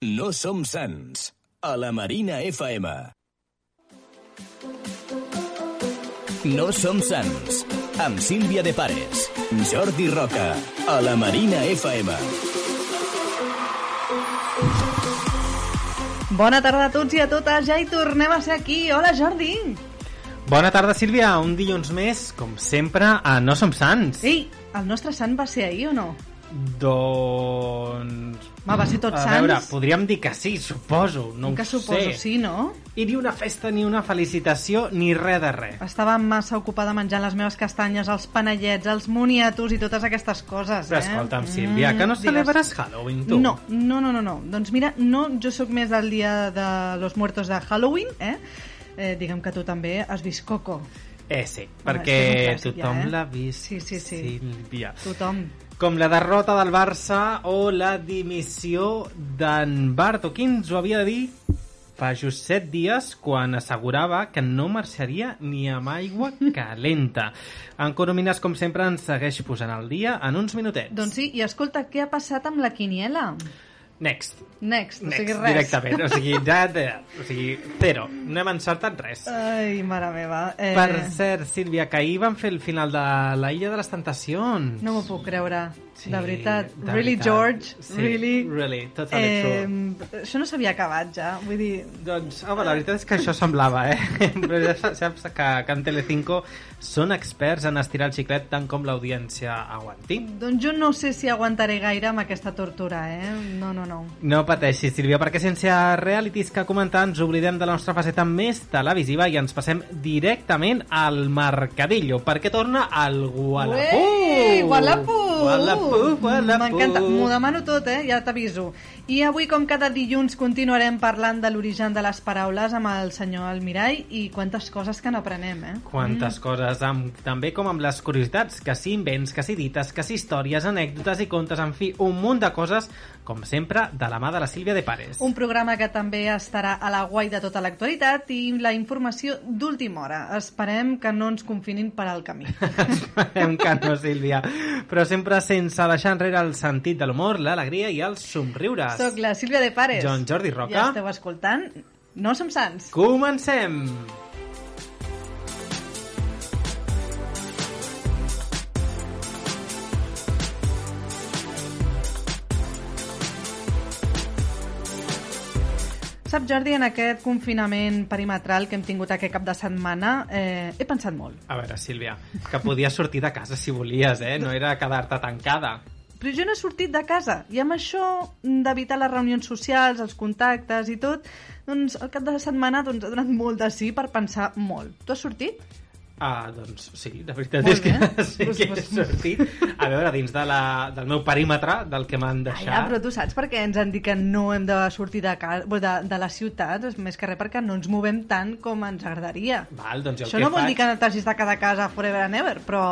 No som sants. A la Marina FM. No som sants. Amb Sílvia de Pares. Jordi Roca. A la Marina FM. Bona tarda a tots i a totes, ja hi tornem a ser aquí. Hola, Jordi! Bona tarda, Sílvia. Un dilluns més, com sempre, a No Som Sants. Ei, el nostre sant va ser ahir o no? Doncs... Va, va ser tot A veure, sants? podríem dir que sí, suposo. No que ho suposo, sé. sí, no? I ni una festa, ni una felicitació, ni res de res. Estava massa ocupada menjant les meves castanyes, els panellets, els moniatos i totes aquestes coses, eh? Però escolta'm, Sílvia, Mm, que no digues. celebres Halloween, tu? No, no, no, no, no. Doncs mira, no, jo sóc més del dia de los muertos de Halloween, eh? eh diguem que tu també has vist Coco. Eh, sí, és que perquè és un clàssic, tothom ja, eh? l'ha vist, Sí, sí, sí. Sílvia. Tothom. Com la derrota del Barça o la dimissió d'en Barto. Qui ens ho havia de dir fa just set dies quan assegurava que no marxaria ni amb aigua calenta. En Coromines, com sempre, ens segueix posant al dia en uns minutets. Doncs sí, i escolta, què ha passat amb la quiniela? Next. Next, no Next, sigui res. directament. O sigui, ja, o sigui, zero. No hem encertat res. Eh. Ai, mare meva. Eh, Per cert, Sílvia, que ahir van fer el final de la Illa de les Tentacions. No m'ho puc creure, Sí, de veritat. de really, veritat. George? Sí, really? Eh, really, totally true. Això no s'havia acabat ja, vull dir... Doncs, home, la veritat és que això semblava, eh? Però ja sa- saps que, que en Telecinco són experts en estirar el xiclet tant com l'audiència aguanti. Doncs jo no sé si aguantaré gaire amb aquesta tortura, eh? No, no, no. No pateixis, Sílvia, perquè sense realities que comentar ens oblidem de la nostra faceta més televisiva i ens passem directament al Mercadillo, perquè torna al Gualapú! Ué, Gualapú! Gualapú, Gualapú! M'encanta, m'ho demano tot, eh? ja t'aviso. I avui, com cada dilluns, continuarem parlant de l'origen de les paraules amb el senyor Almirall i quantes coses que n'aprenem, eh? Quantes coses, amb, també com amb les curiositats, que si invents, que si dites, que si històries, anècdotes i contes, en fi, un munt de coses, com sempre, de la mà de la Sílvia de Pares. Un programa que també estarà a la guai de tota l'actualitat i la informació d'última hora. Esperem que no ens confinin per al camí. Esperem que no, Sílvia. Però sempre sense deixar enrere el sentit de l'humor, l'alegria i els somriures. Soc la Sílvia de Pares. Jo en Jordi Roca. Ja esteu escoltant. No som sants. Comencem! Sap, Jordi, en aquest confinament perimetral que hem tingut aquest cap de setmana, eh, he pensat molt. A veure, Sílvia, que podies sortir de casa si volies, eh? No era quedar-te tancada. Però jo no he sortit de casa, i amb això d'evitar les reunions socials, els contactes i tot, doncs el cap de setmana doncs, ha donat molt de sí per pensar molt. Tu has sortit? Ah, doncs sí, la veritat Molt és que bé. sí Pues- que he pues- sortit. A veure, dins de la, del meu perímetre, del que Ah, m'han deixat... ja, però tu saps per què ens han dit que no hem de sortir de, casa, de, de la ciutat? És més que res perquè no ens movem tant com ens agradaria. Val, doncs jo Això el que no vol faig... dir que no t'hagis de quedar a casa forever and ever, però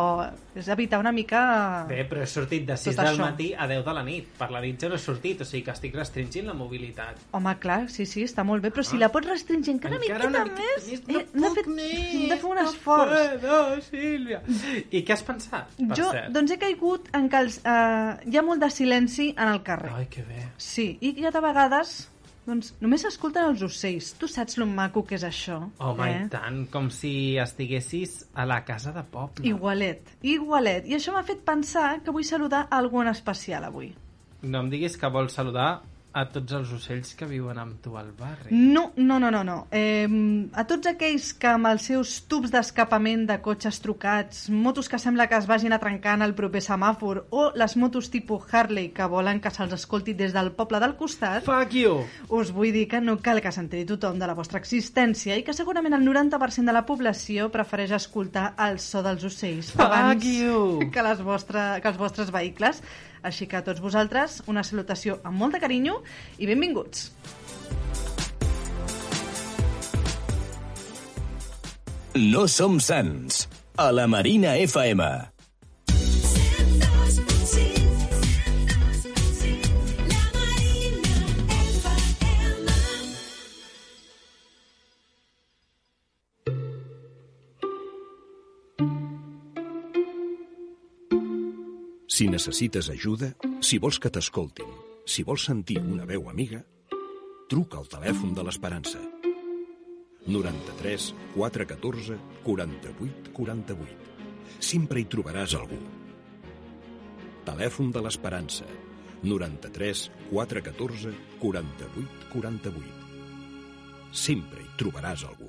és evitar una mica... Bé, però he sortit de 6 Tot del això. matí a 10 de la nit. Per la nit ja no he sortit, o sigui que estic restringint la mobilitat. Home, clar, sí, sí, està molt bé, però si la pots restringir encara, Ah. miqueta Encara una més, miqueta eh, No hem de puc fer, més, hem de fer un no esforç. Puedo, Sílvia. I què has pensat, per Jo, cert? doncs he caigut en que els, eh, hi ha molt de silenci en el carrer. Ai, que bé. Sí, i hi ha de vegades doncs, només s'escolten els ocells. Tu saps lo maco que és això? Home, eh? i tant, com si estiguessis a la casa de poble. Igualet, igualet. I això m'ha fet pensar que vull saludar algú en especial avui. No em diguis que vols saludar a tots els ocells que viuen amb tu al barri. No, no, no, no. no. Eh, a tots aquells que amb els seus tubs d'escapament de cotxes trucats, motos que sembla que es vagin a trencar en el proper semàfor o les motos tipus Harley que volen que se'ls escolti des del poble del costat, Fuck you! us vull dir que no cal que s'enteri tothom de la vostra existència i que segurament el 90% de la població prefereix escoltar el so dels ocells Fuck abans you. que, les vostre, que els vostres vehicles. Així que a tots vosaltres, una salutació amb molt de carinyo i benvinguts. No som sants. A la Marina FM. Si necessites ajuda, si vols que t'escoltin, si vols sentir una veu amiga, truca al telèfon de l'Esperança. 93 414 48 48. Sempre hi trobaràs algú. Telèfon de l'Esperança. 93 414 48 48. Sempre hi trobaràs algú.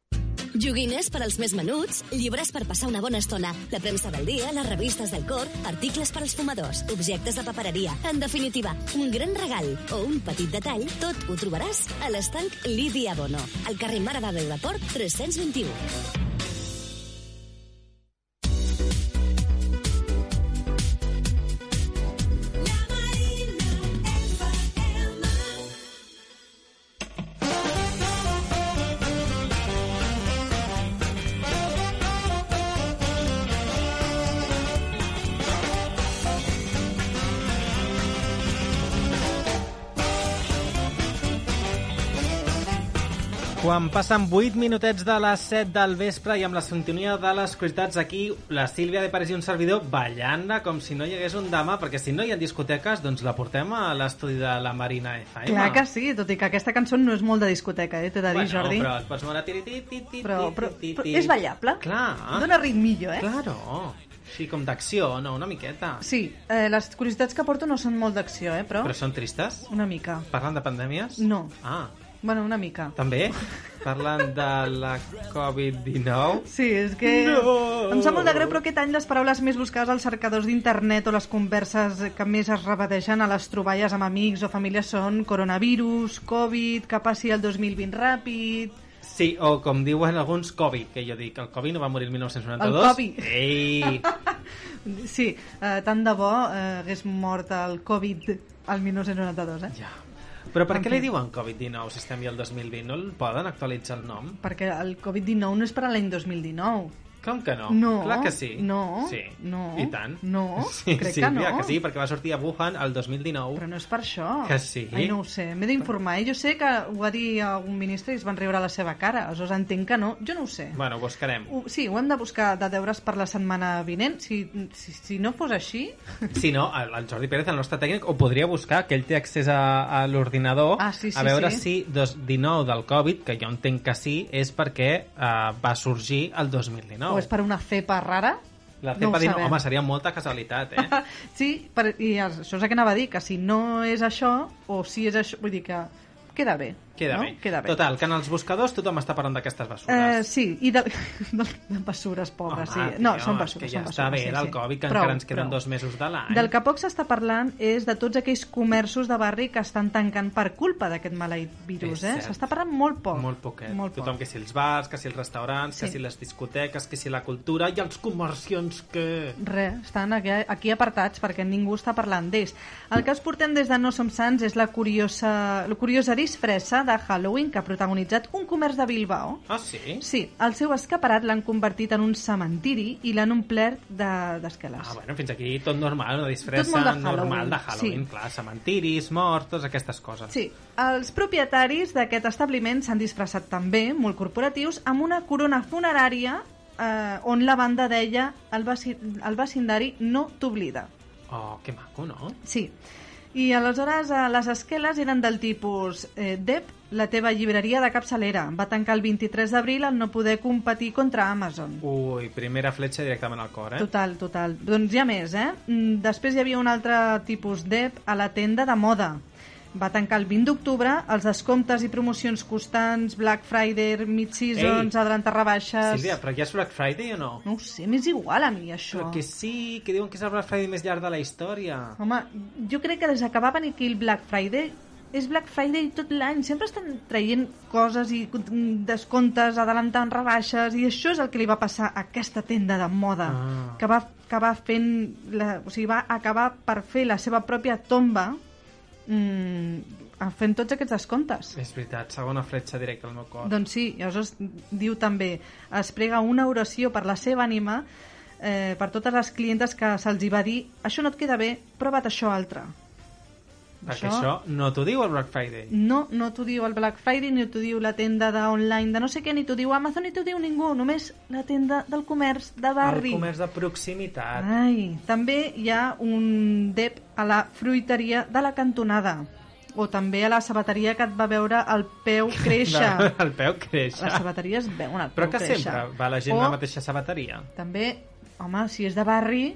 Joguines per als més menuts, llibres per passar una bona estona, la premsa del dia, les revistes del cor, articles per als fumadors, objectes de papereria... En definitiva, un gran regal o un petit detall, tot ho trobaràs a l'estanc Lídia Bono, al carrer Mare de Déu de Port 321. Quan passen 8 minutets de les 7 del vespre i amb la sintonia de les curiositats aquí, la Sílvia de París i un servidor ballant-la com si no hi hagués un demà, perquè si no hi ha discoteques, doncs la portem a l'estudi de la Marina FM. Clar que sí, tot i que aquesta cançó no és molt de discoteca, eh, t'he de dir, bueno, Jordi. però et pots moure... Tiri, tiri, tiri, tiri, Però, però, tiri, però tiri. és ballable. Clar. Dóna ritmillo, eh? Claro. Sí, com d'acció, no? Una miqueta. Sí, eh, les curiositats que porto no són molt d'acció, eh, però... Però són tristes? Una mica. Parlen de pandèmies? No. Ah, Bueno, una mica. també? Parlen de la Covid-19? Sí, és que... No! Em sap molt de greu, però aquest any les paraules més buscades als cercadors d'internet o les converses que més es repeteixen a les troballes amb amics o famílies són coronavirus, Covid, que passi el 2020 ràpid... Sí, o com diuen alguns, Covid, que jo dic, el Covid no va morir el 1992. El Covid. Ei! Sí, eh, tant de bo eh, hagués mort el Covid al 1992, eh? Ja. Però per En què fi. li diuen Covid-19 si estem ja al 2020? No el poden actualitzar el nom? Perquè el Covid-19 no és per a l'any 2019. Com que no? No, Clar que sí. no, Sí. no, I tant. no, Sí, crec sí, que mira no. que sí, perquè va sortir a Wuhan el 2019. Però no és per això. Que sí. Ai, no ho sé, m'he d'informar. Eh? Jo sé que ho va dir algun ministre i es van riure a la seva cara. Aleshores entenc que no. Jo no ho sé. Bueno, ho buscarem. Ho, sí, ho hem de buscar de deures per la setmana vinent. Si, si, si no fos així... Si no, el el Jordi Pérez, el nostre tècnic, ho podria buscar, que ell té accés a, a l'ordinador, Ah, sí, sí, a veure sí. si dos, 19 del Covid, que jo entenc que sí, és perquè uh, va sorgir el 2019. O és per una cepa rara? La no ho cepa no sabem. home, seria molta casualitat, eh? Sí, per, i això és el que anava a dir, que si no és això, o si és això... Vull dir que queda bé. Queda, no? bé. Queda bé. Total, que en els buscadors tothom està parlant d'aquestes bessures. Eh, sí, i de, de, de bessures, pobres, Home, sí. No, tio, són és bessures, Que ja són està bé bessures, sí, del sí. Covid, que Prou, encara ens queden prou. dos mesos de l'any. Del que poc s'està parlant és de tots aquells comerços de barri que estan tancant per culpa d'aquest maleït virus, És eh? cert. S'està parlant molt poc. Molt poquet. Molt poc. Tothom que si els bars, que si els restaurants, que Sí. si les discoteques, que si la cultura i els comerciants que... Res, estan aquí, aquí apartats perquè ningú està parlant d'ells. El que us portem des de No Som Sants és la curiosa, la curiosa disfressa de Halloween que ha protagonitzat un comerç de Bilbao. Ah, sí? Sí, el seu escaparat l'han convertit en un cementiri i l'han omplert de- d'esqueles. Ah, bueno, fins aquí tot normal, una disfressa molt de Halloween, normal de Halloween, sí. clar, cementiris, morts, totes aquestes coses. Sí, els propietaris d'aquest establiment s'han disfressat també, molt corporatius, amb una corona funerària eh, on la banda deia el, vaci el vecindari no t'oblida. Oh, que maco, no? Sí. I aleshores eh, les esqueles eren del tipus eh, Dep, la teva llibreria de capçalera. Va tancar el 23 d'abril al no poder competir contra Amazon. Ui, primera fletxa directament al cor, eh? Total, total. Doncs hi ha més, eh? Mm, Després hi havia un altre tipus d'EP a la tenda de moda. Va tancar el 20 d'octubre, els descomptes i promocions constants, Black Friday, mid-seasons, Ei! adelantar rebaixes... Sílvia, però ja és Black Friday o no? No ho sé, m'és igual a mi, això. Però que sí, que diuen que és el Black Friday més llarg de la història. Home, jo crec que des que va venir aquí el Black Friday, és Black Friday tot l'any, sempre estan traient coses i mm, descomptes, adelantant rebaixes, i això és el que li va passar a aquesta tenda de moda, Ah. que va acabar fent, la, o sigui, va acabar per fer la seva pròpia tomba mm, fent tots aquests descomptes. És veritat, segona fletxa directa al meu cor. Doncs sí, i aleshores diu també es prega una oració per la seva ànima eh, per totes les clientes que se'ls hi va dir això no et queda bé, prova't això altre. Perquè Ah, això no t'ho diu el Black Friday. No, no t'ho diu el Black Friday, ni t'ho diu la tenda d'online de no sé què, ni t'ho diu Amazon, ni t'ho diu ningú, només la tenda del comerç de barri. El comerç de proximitat. Ai, també hi ha un dep a la fruiteria de la cantonada o també a la sabateria que et va veure el peu créixer. De- El peu La créixer. sabateria es veuen el peu Ah. Però que créixer. sempre va la gent o, a la mateixa sabateria. També, home, si és de barri,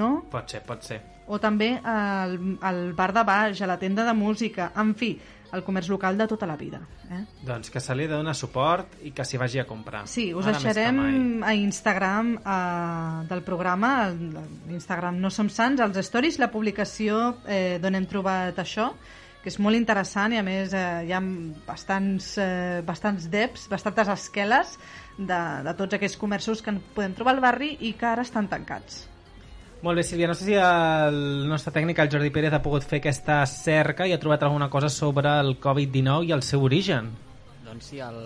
no? Pot ser, pot ser. O també al, al bar de baix, a la tenda de música, en fi, el comerç local de tota la vida. Eh? Doncs que se li dona suport i que s'hi vagi a comprar. Sí, us Ara més que mai. deixarem a Instagram eh, del programa, a l'Instagram No Som Sants, als stories, la publicació eh, d'on hem trobat això, que és molt interessant i a més eh, hi ha bastants, eh, bastants deps, bastantes esqueles de, de tots aquests comerços que en podem trobar al barri i que ara estan tancats. Molt bé, Sílvia, no sé si el nostre tècnic, el Jordi Pérez, ha pogut fer aquesta cerca i ha trobat alguna cosa sobre el Covid-19 i el seu origen. Doncs sí, el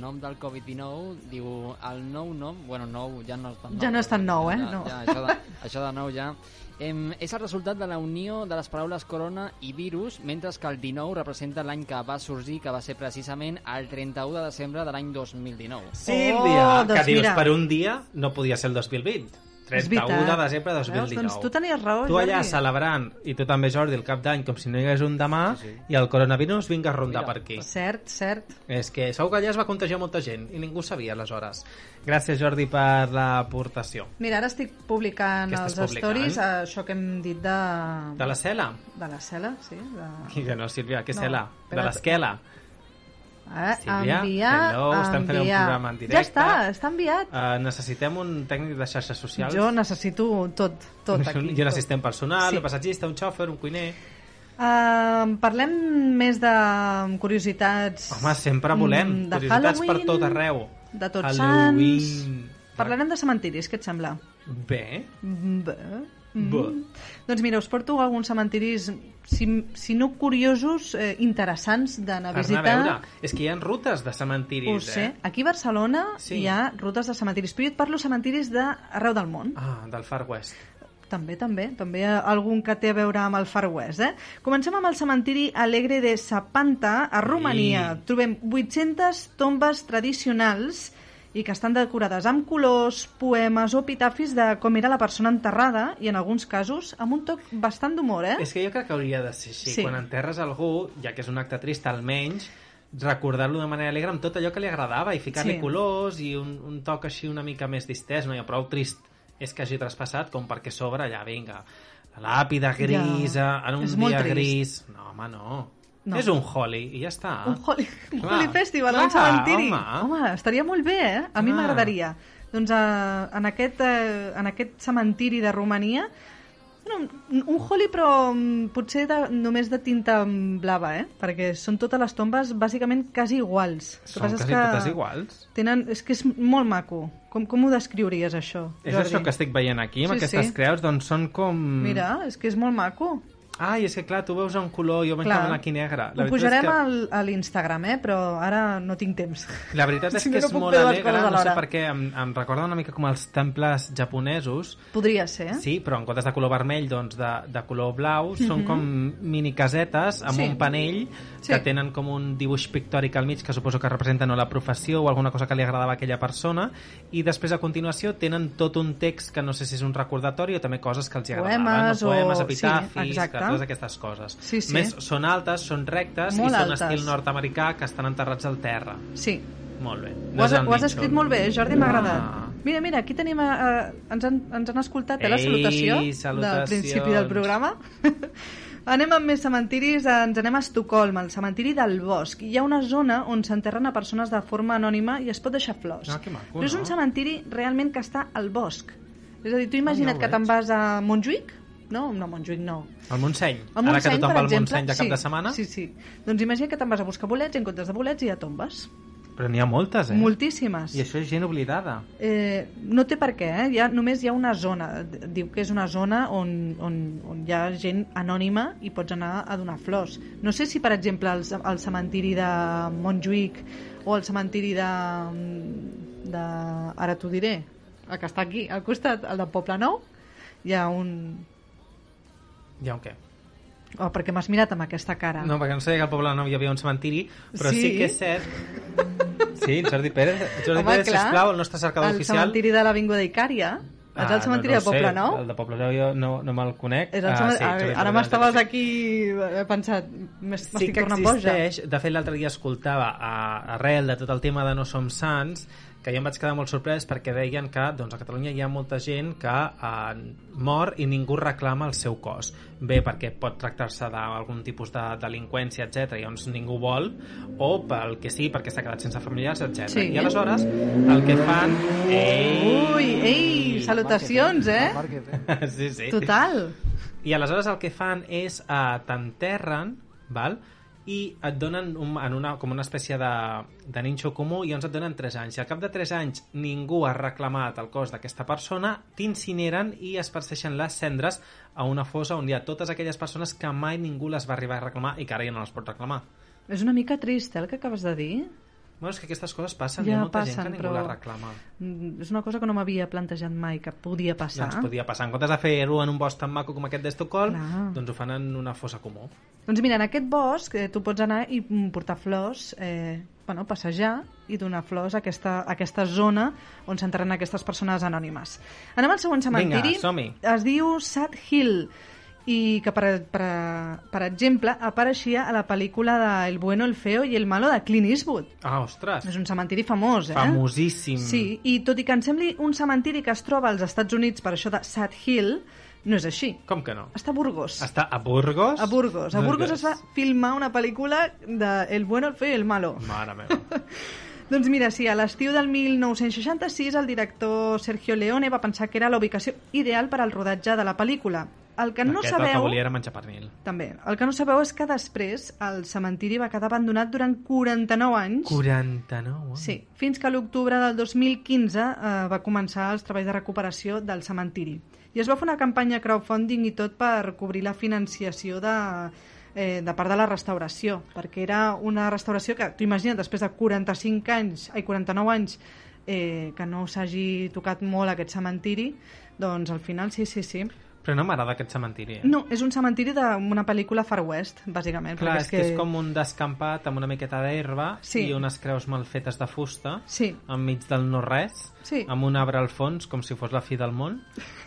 nom del Covid-19 diu el nou nom, bueno, nou ja no és tan nou. Ja no és tan però nou, eh? Ja, No. ja, això, de, això de nou ja... Em, és el resultat de la unió de les paraules corona i virus, mentre que el 19 representa l'any que va sorgir, que va ser precisament el 31 de desembre de l'any 2019. Sílvia, Oh, que doncs dius, mira. per un dia no podia ser el 2020. És 31 de veritat. desembre de 2019. Veus? Doncs tu tenies raó, Tu allà Jordi. celebrant, i tu també, Jordi, el cap d'any, com si no hi hagués un demà, sí, sí. i el coronavirus vinga a rondar Mira. per aquí. Cert, cert. És que segur que allà es va contagiar molta gent i ningú ho sabia aleshores. Gràcies, Jordi, per l'aportació. Mira, ara estic publicant Què els estàs publicant? stories, eh, això que hem dit de... De la cela? de la cel·la, sí. De... I que no, Sílvia, què No, cela? De espera't. l'esquela. Ah, Sílvia, enviar, hello, estem fent un enviar. programa en Ja directe. està, està enviat. Uh, necessitem un tècnic de xarxes socials. Jo necessito tot, tot aquí. I un assistent personal, Sí. sí. un passatgista, un xòfer, un cuiner... Uh, parlem més de curiositats. Home, sempre volem mm, de curiositats per Halloween, tot arreu. De tots Halloween. sants. Parlarem de cementiris, què et sembla? Bé, Mm, Bé. bé. Doncs mira, us porto alguns cementiris, si, si no curiosos, eh, interessants d'anar a Per anar visitar. a veure. És que hi ha rutes de cementiris, Ho sé. eh? Aquí a Barcelona Sí. hi ha rutes de cementiris, però jo et parlo cementiris d'arreu del món. Ah, del Far West. També, també. També hi ha algun que té a veure amb el Far West, eh? Comencem amb el cementiri Alegre de Sapanta, a Romania. Sí. Trobem 800 tombes tradicionals i que estan decorades amb colors, poemes o epitafis de com era la persona enterrada i, en alguns casos, amb un toc bastant d'humor, eh? És que jo crec que hauria de ser així. Sí. Sí. Quan enterres algú, ja que és un acte trist, almenys recordar-lo de manera alegre amb tot allò que li agradava i ficar-li Sí. sí. colors i un, un toc així una mica més distès, no hi ha prou trist és que hagi traspassat com perquè sobre allà, vinga, la làpida grisa, Ja. en un És molt dia trist. gris... No, home, no. No. no. És un holi i ja està. un Holi, un Clar. Holi Festival en un Clar, cementiri. home. home, estaria molt bé, eh? A mi Clar. m'agradaria. Doncs eh, en, aquest, eh, en aquest cementiri de Romania, bueno, un, un Holi però mm, potser de, només de tinta mm, blava, eh? Perquè són totes les tombes bàsicament quasi iguals. El que Són passa és quasi que totes iguals. Tenen, és que és molt maco. Com, com ho descriuries, això, És Jordi? això que estic veient aquí, amb Sí, sí, aquestes sí. sí. creus, doncs són com... Mira, és que és molt maco. Ai, és que clar, tu veus un color, jo veig Clar. aquí negre. Ho veritat és pujarem que... al- a l'Instagram, eh? Però ara no tinc temps. La veritat és Si no, que no és puc molt fer dues alegre, coses no sé alhora. per què, em, em recorda una mica com els temples japonesos, Podria ser, eh? sí, però en comptes de color vermell, doncs de, de color blau, són com mini casetes Mhm. amb Sí. un panell Sí. que tenen com un dibuix pictòric al mig que suposo que representen o la professió o alguna cosa que li agradava a aquella persona i després a continuació tenen tot un text que no sé si és un recordatori o també coses que els hi agradaven, Poemes o poemes, o- sí, epitafis, exacte. totes aquestes coses. Sí, sí. Més, són altes, són rectes Molt i són altes. estil nord-americà que estan enterrats al terra. Sí, Molt bé. Ho has, és el ho has nínxol. escrit molt bé, Jordi, m'ha Ah. agradat. Mira, mira, aquí tenim... A, a, ens, han, ens han escoltat eh, la Ei, salutació del salutacions. principi del programa. Anem amb més cementiris, eh, ens anem a Estocolm, al cementiri del Bosc. Hi ha una zona on s'enterren a persones de forma anònima i es pot deixar flors. Ah, que maco, Però és no? un cementiri realment que està al bosc. És a dir, tu imagina't ho que te'n veig. vas a Montjuïc, no, no, Montjuïc no. El Montseny. A Montseny, Ara que tothom per va al exemple, Montseny de cap sí, de setmana, Sí, sí. Doncs imagina que te'n vas a buscar bolets i en comptes de bolets hi ha tombes. però n'hi ha moltes, eh? Moltíssimes. I això és gent oblidada. Eh, no té per què, eh? Hi ha, només hi ha una zona. D- Diu que és una zona on, on, on hi ha gent anònima i pots anar a donar flors. No sé si, per exemple, el, ce- el cementiri de Montjuïc o el cementiri de... de ara t'ho diré. el que està aquí, al costat, el del Poble Nou, hi ha un... Ja, què? Oh, perquè m'has mirat amb aquesta cara. No, perquè no sabia que al Poble Nou hi havia un cementiri, però sí, Sí. sí que és cert... Sí, en Jordi Pérez, Jordi Home, Pérez, clar, sisplau, el nostre cercador el oficial. cementiri de l'Avinguda Icària. Ah, és el cementiri no, no, no de Poble sé, Nou? El de Poble Nou jo no, no me'l conec. És el ah, sí, Jordi sí, ara Pérez, m'estaves sí. aquí... He pensat, m'estic sí que tornant boja. existeix. De fet, l'altre dia escoltava a, arrel de tot el tema de No som sants que jo em vaig quedar molt sorprès perquè deien que doncs, a Catalunya hi ha molta gent que eh, mor i ningú reclama el seu cos. Bé, perquè pot tractar-se d'algun tipus de delinqüència, etc i llavors ningú vol, o pel que sí, perquè s'ha quedat sense familiars, etc. Sí. I aleshores el que fan... Ei! Ui, ei, salutacions, eh? Sí, sí. Total. I aleshores el que fan és eh, t'enterren, val? i et donen un, en una, com una espècie de, de ninxo comú i ens et donen 3 anys. I al cap de 3 anys ningú ha reclamat el cos d'aquesta persona, t'incineren i es perseixen les cendres a una fosa on hi ha totes aquelles persones que mai ningú les va arribar a reclamar i que ara ja no les pot reclamar. És una mica trist, eh, el que acabes de dir. Bueno, és que aquestes coses passen, Ja hi ha molta gent passen, que ningú però- les reclama. Mm, És una cosa que no m'havia plantejat mai, que podia passar. Doncs podia passar. En comptes de fer-ho en un bosc tan maco com aquest d'Estocolm, Clar. doncs ho fan en una fossa comú. Doncs mira, en aquest bosc eh, tu pots anar i mm, portar flors, eh, bueno, passejar i donar flors a aquesta, a aquesta zona on s'enterren aquestes persones anònimes. Anem al següent cementiri. Vinga, som-hi. Es diu Sad Hill i que, per, per, per exemple, apareixia a la pel·lícula de El bueno, el feo i el malo de Clint Eastwood. Ah, ostres! És un cementiri famós, eh? Famosíssim. Sí, i tot i que em sembli un cementiri que es troba als Estats Units per això de Sad Hill, no és així. Com que no? Està a Burgos. Està a Burgos? A Burgos. A Burgos es va filmar una pel·lícula de El bueno, el feo i el malo. Mare meva. Doncs mira, sí, a l'estiu del 1966 el director Sergio Leone va pensar que era la ubicació ideal per al rodatge de la pel·lícula. El que no Aquest el que sabeu... volia era menjar pernil. També. El que no sabeu és que després el cementiri va quedar abandonat durant 49 anys. 49 anys. Sí, fins que a l'octubre del 2015 eh, va començar els treballs de recuperació del cementiri. I es va fer una campanya crowdfunding i tot per cobrir la financiació de, eh, de part de la restauració, perquè era una restauració que, tu imagina't, després de 45 anys, ai, 49 anys, eh, que no s'hagi tocat molt aquest cementiri, doncs al final sí, sí, sí. Però no m'agrada aquest cementiri. Eh? No, és un cementiri d'una pel·lícula Far West, bàsicament. Clar, perquè és que... és com un descampat amb una miqueta d'herba Sí. i unes creus mal fetes de fusta Sí. enmig del no-res, Sí. amb un arbre al fons com si fos la fi del món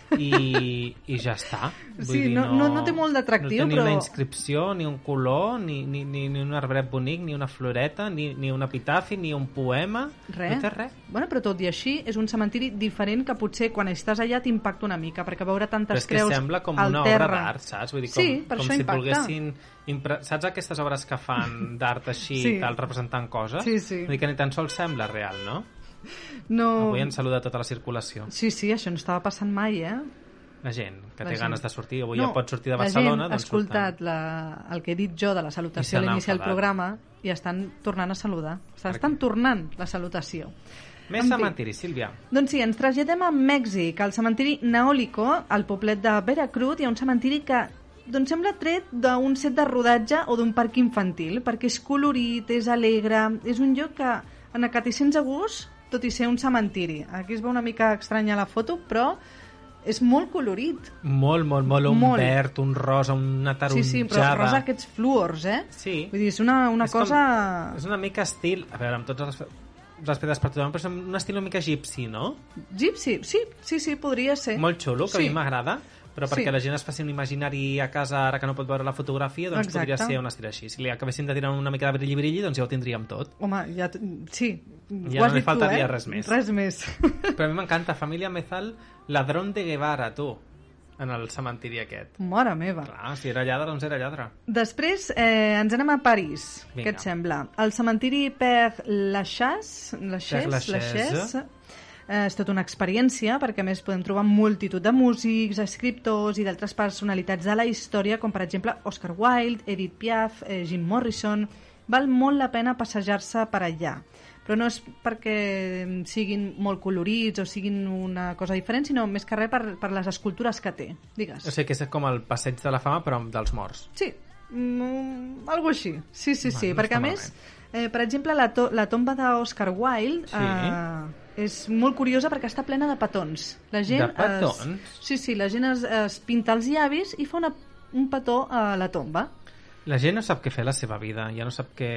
i, i ja està. Vull Sí, dir, no- no- no té molt d'atractiu, No té ni però- una inscripció, ni un color, ni, ni, ni, ni un arbret bonic, ni una floreta, ni, ni un epitafi, ni un poema. Res. No té res. Bueno, però tot i així, és un cementiri diferent que potser quan estàs allà t'impacta una mica, perquè veure Però tantes és que creus sembla com al una terra... obra d'art, saps? Vull dir, com, Sí, per com això si impacta. volguessin... Impre... Saps aquestes obres que fan d'art així, sí. Sí. tal, representant coses? Sí, sí. Vull dir que ni tan sols sembla real, no? No... Avui ens saluda tota la circulació. Sí, sí, això no estava passant mai, eh? La gent que La té gent. ganes de sortir, avui no, ja pot sortir de Barcelona, la gent ha doncs escoltat la, el que he dit jo de la I salutació a se n'ha l'inici del enfadat. programa i estan tornant a saludar. Per Estan què? tornant la salutació. surten. Més En fi. cementiri, Sílvia. Doncs sí, ens traslladem a Mèxic, al cementiri Naólico, al poblet de Veracruz, hi ha un cementiri que doncs sembla tret d'un set de rodatge o d'un parc infantil, perquè és colorit, és alegre, és un lloc que en el que t'hi sents a gust, tot i ser un cementiri. Aquí es veu una mica estranya la foto, però és molt colorit. Molt, molt, molt, un Molt. verd, un rosa, una Sí, taronjada. sí, però rosa aquests fluors, eh? Sí. Vull dir, és una, una És com- cosa... És una mica estil... A veure, amb tots els respectes per tothom, però és un estil una mica egipci, no? Gypsy, sí, sí, sí, podria ser. molt xulo, que sí. a mi m'agrada, però Sí. perquè la gent es faci un imaginari a casa ara que no pot veure la fotografia, doncs Exacte. podria ser una estil així. Si li acabéssim de tirar una mica de brilli-brilli, doncs ja ho tindríem tot. Home, ja... t- Sí, Ja ho has no li dit tu, faltaria eh? res més. Res més. Però a mi m'encanta, família Mezal, ladrón de Guevara, tu, en el cementiri aquest. Mora meva. Clar, si era lladre, doncs era lladre. Després eh, ens anem a París. Vinga. Què et sembla? El cementiri Père Lachaise, Lachaise, Père Lachaise. Lachaise eh, és tota una experiència perquè a més podem trobar multitud de músics, escriptors i d'altres personalitats de la història com per exemple Oscar Wilde, Edith Piaf, eh, Jim Morrison... Val molt la pena passejar-se per allà però no és perquè siguin molt colorits o siguin una cosa diferent, sinó més que res per, per les escultures que té, digues. O sigui que és com el passeig de la fama, però amb dels morts. Sí, mm, algo així. Sí, sí, Bueno, sí, no perquè està a més, eh, per exemple, la, to la tomba d'Oscar Wilde Sí. eh, és molt curiosa perquè està plena de petons. La gent De petons? Es, sí, sí, la gent es, es pinta els llavis i fa una, un petó a la tomba. La gent no sap què fer a la seva vida, ja no sap què,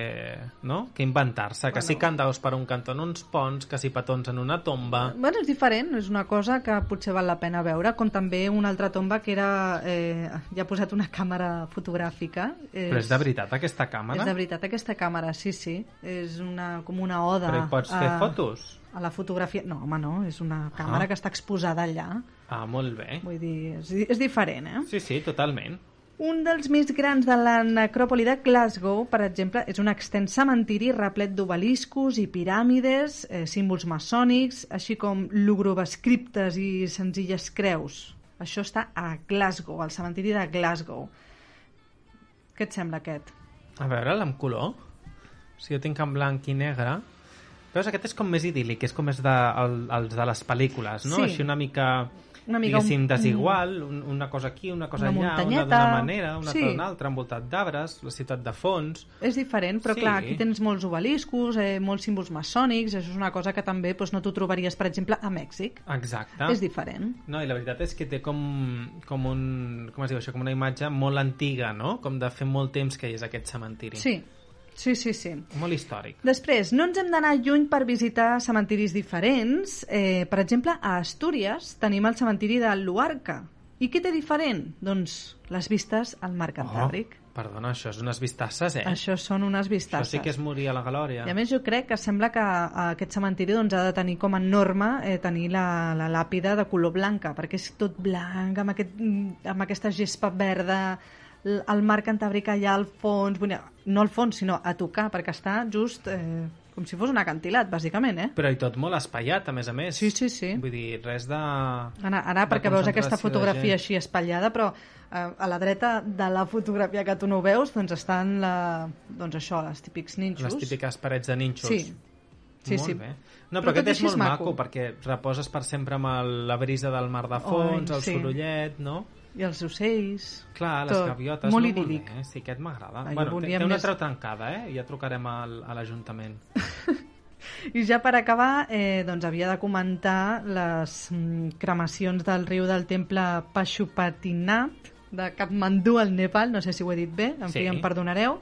no? què inventar-se, que si cantaus per un cantó en uns ponts, que si petons en una tomba... Bueno, és diferent, és una cosa que potser val la pena veure, com també una altra tomba que era... Eh, ja ha posat una càmera fotogràfica. És, Però és de veritat aquesta càmera? És de veritat aquesta càmera, sí, sí. És una, com una oda... Però hi pots Ah. fer fotos? A la fotografia... No, home, no, és una càmera Ah. que està exposada allà. Ah, molt bé. Vull dir, és, és diferent, eh? Sí, sí, totalment. Un dels més grans de la necròpoli de Glasgow, per exemple, és un extens cementiri replet d'obeliscos i piràmides, eh, símbols maçònics, així com lúgrubes criptes i senzilles creus. Això està a Glasgow, al cementiri de Glasgow. Què et sembla aquest? A veure, l'en color. Si jo tinc en blanc i negre... Veus, aquest és com més idíl·lic, és com és de, el, els de les pel·lícules, no? Sí. Així una mica, Una mica diguéssim, un- desigual, un, una cosa aquí, una Una cosa allà, una d'una muntanyeta. manera, una Sí. sí. d'una altra, envoltat d'arbres, la ciutat de fons... És diferent, però Sí. sí. clar, aquí tens molts obeliscos, eh, molts símbols maçònics, això és una cosa que també doncs, no t'ho trobaries, per exemple, a Mèxic. Exacte. Ah. És diferent. No, i la veritat és que té com, com un... Com es diu això? Com una imatge molt antiga, no? Com de fer molt temps que hi és aquest cementiri. Sí, sí, sí, sí. Molt històric. Després, no ens hem d'anar lluny per visitar cementiris diferents. Eh, per exemple, a Astúries tenim el cementiri de Luarca. I què té diferent? Doncs les vistes al mar Cantàbric. perdona, això és unes vistasses, Oh. eh? Això són unes això vistasses. sí que és morir a la galòria. I a més jo crec que sembla que eh, aquest cementiri doncs, ha de tenir com a norma eh, tenir la, la làpida de color blanca, perquè és tot blanc, amb, aquest, mm, amb aquesta gespa verda, l- el mar Cantàbric allà al fons, vull dir, no al fons, sinó a tocar, perquè està just eh, com si fos un acantilat, bàsicament, eh? Però i tot molt espaiat, a més a més. Sí, sí, sí. Vull dir, res de... Ara, ara de perquè veus aquesta concentració de fotografia gent. així espatllada, però eh, a la dreta de la fotografia que tu no veus, doncs estan la, doncs això, els típics ninxos. Les típiques parets de ninxos. Sí. Sí, molt sí. Bé. No, Però però, aquest tot és així molt és maco. maco. perquè reposes per sempre amb el, la brisa del mar de fons, Ai, el sí. sorollet, no? I els ocells. Clar, les tot. gaviotes. Molt no, idíl·lic. bé, eh? Sí, aquest m'agrada. Ah, jo Bueno, té, volia té una més- trau trencada, eh? Ja trucarem al, a l'Ajuntament. I ja per acabar, eh, doncs havia de comentar les mm, cremacions del riu del temple Pashupatinath de Kathmandú al Nepal, no sé si ho he dit bé, en Sí. fi, em perdonareu.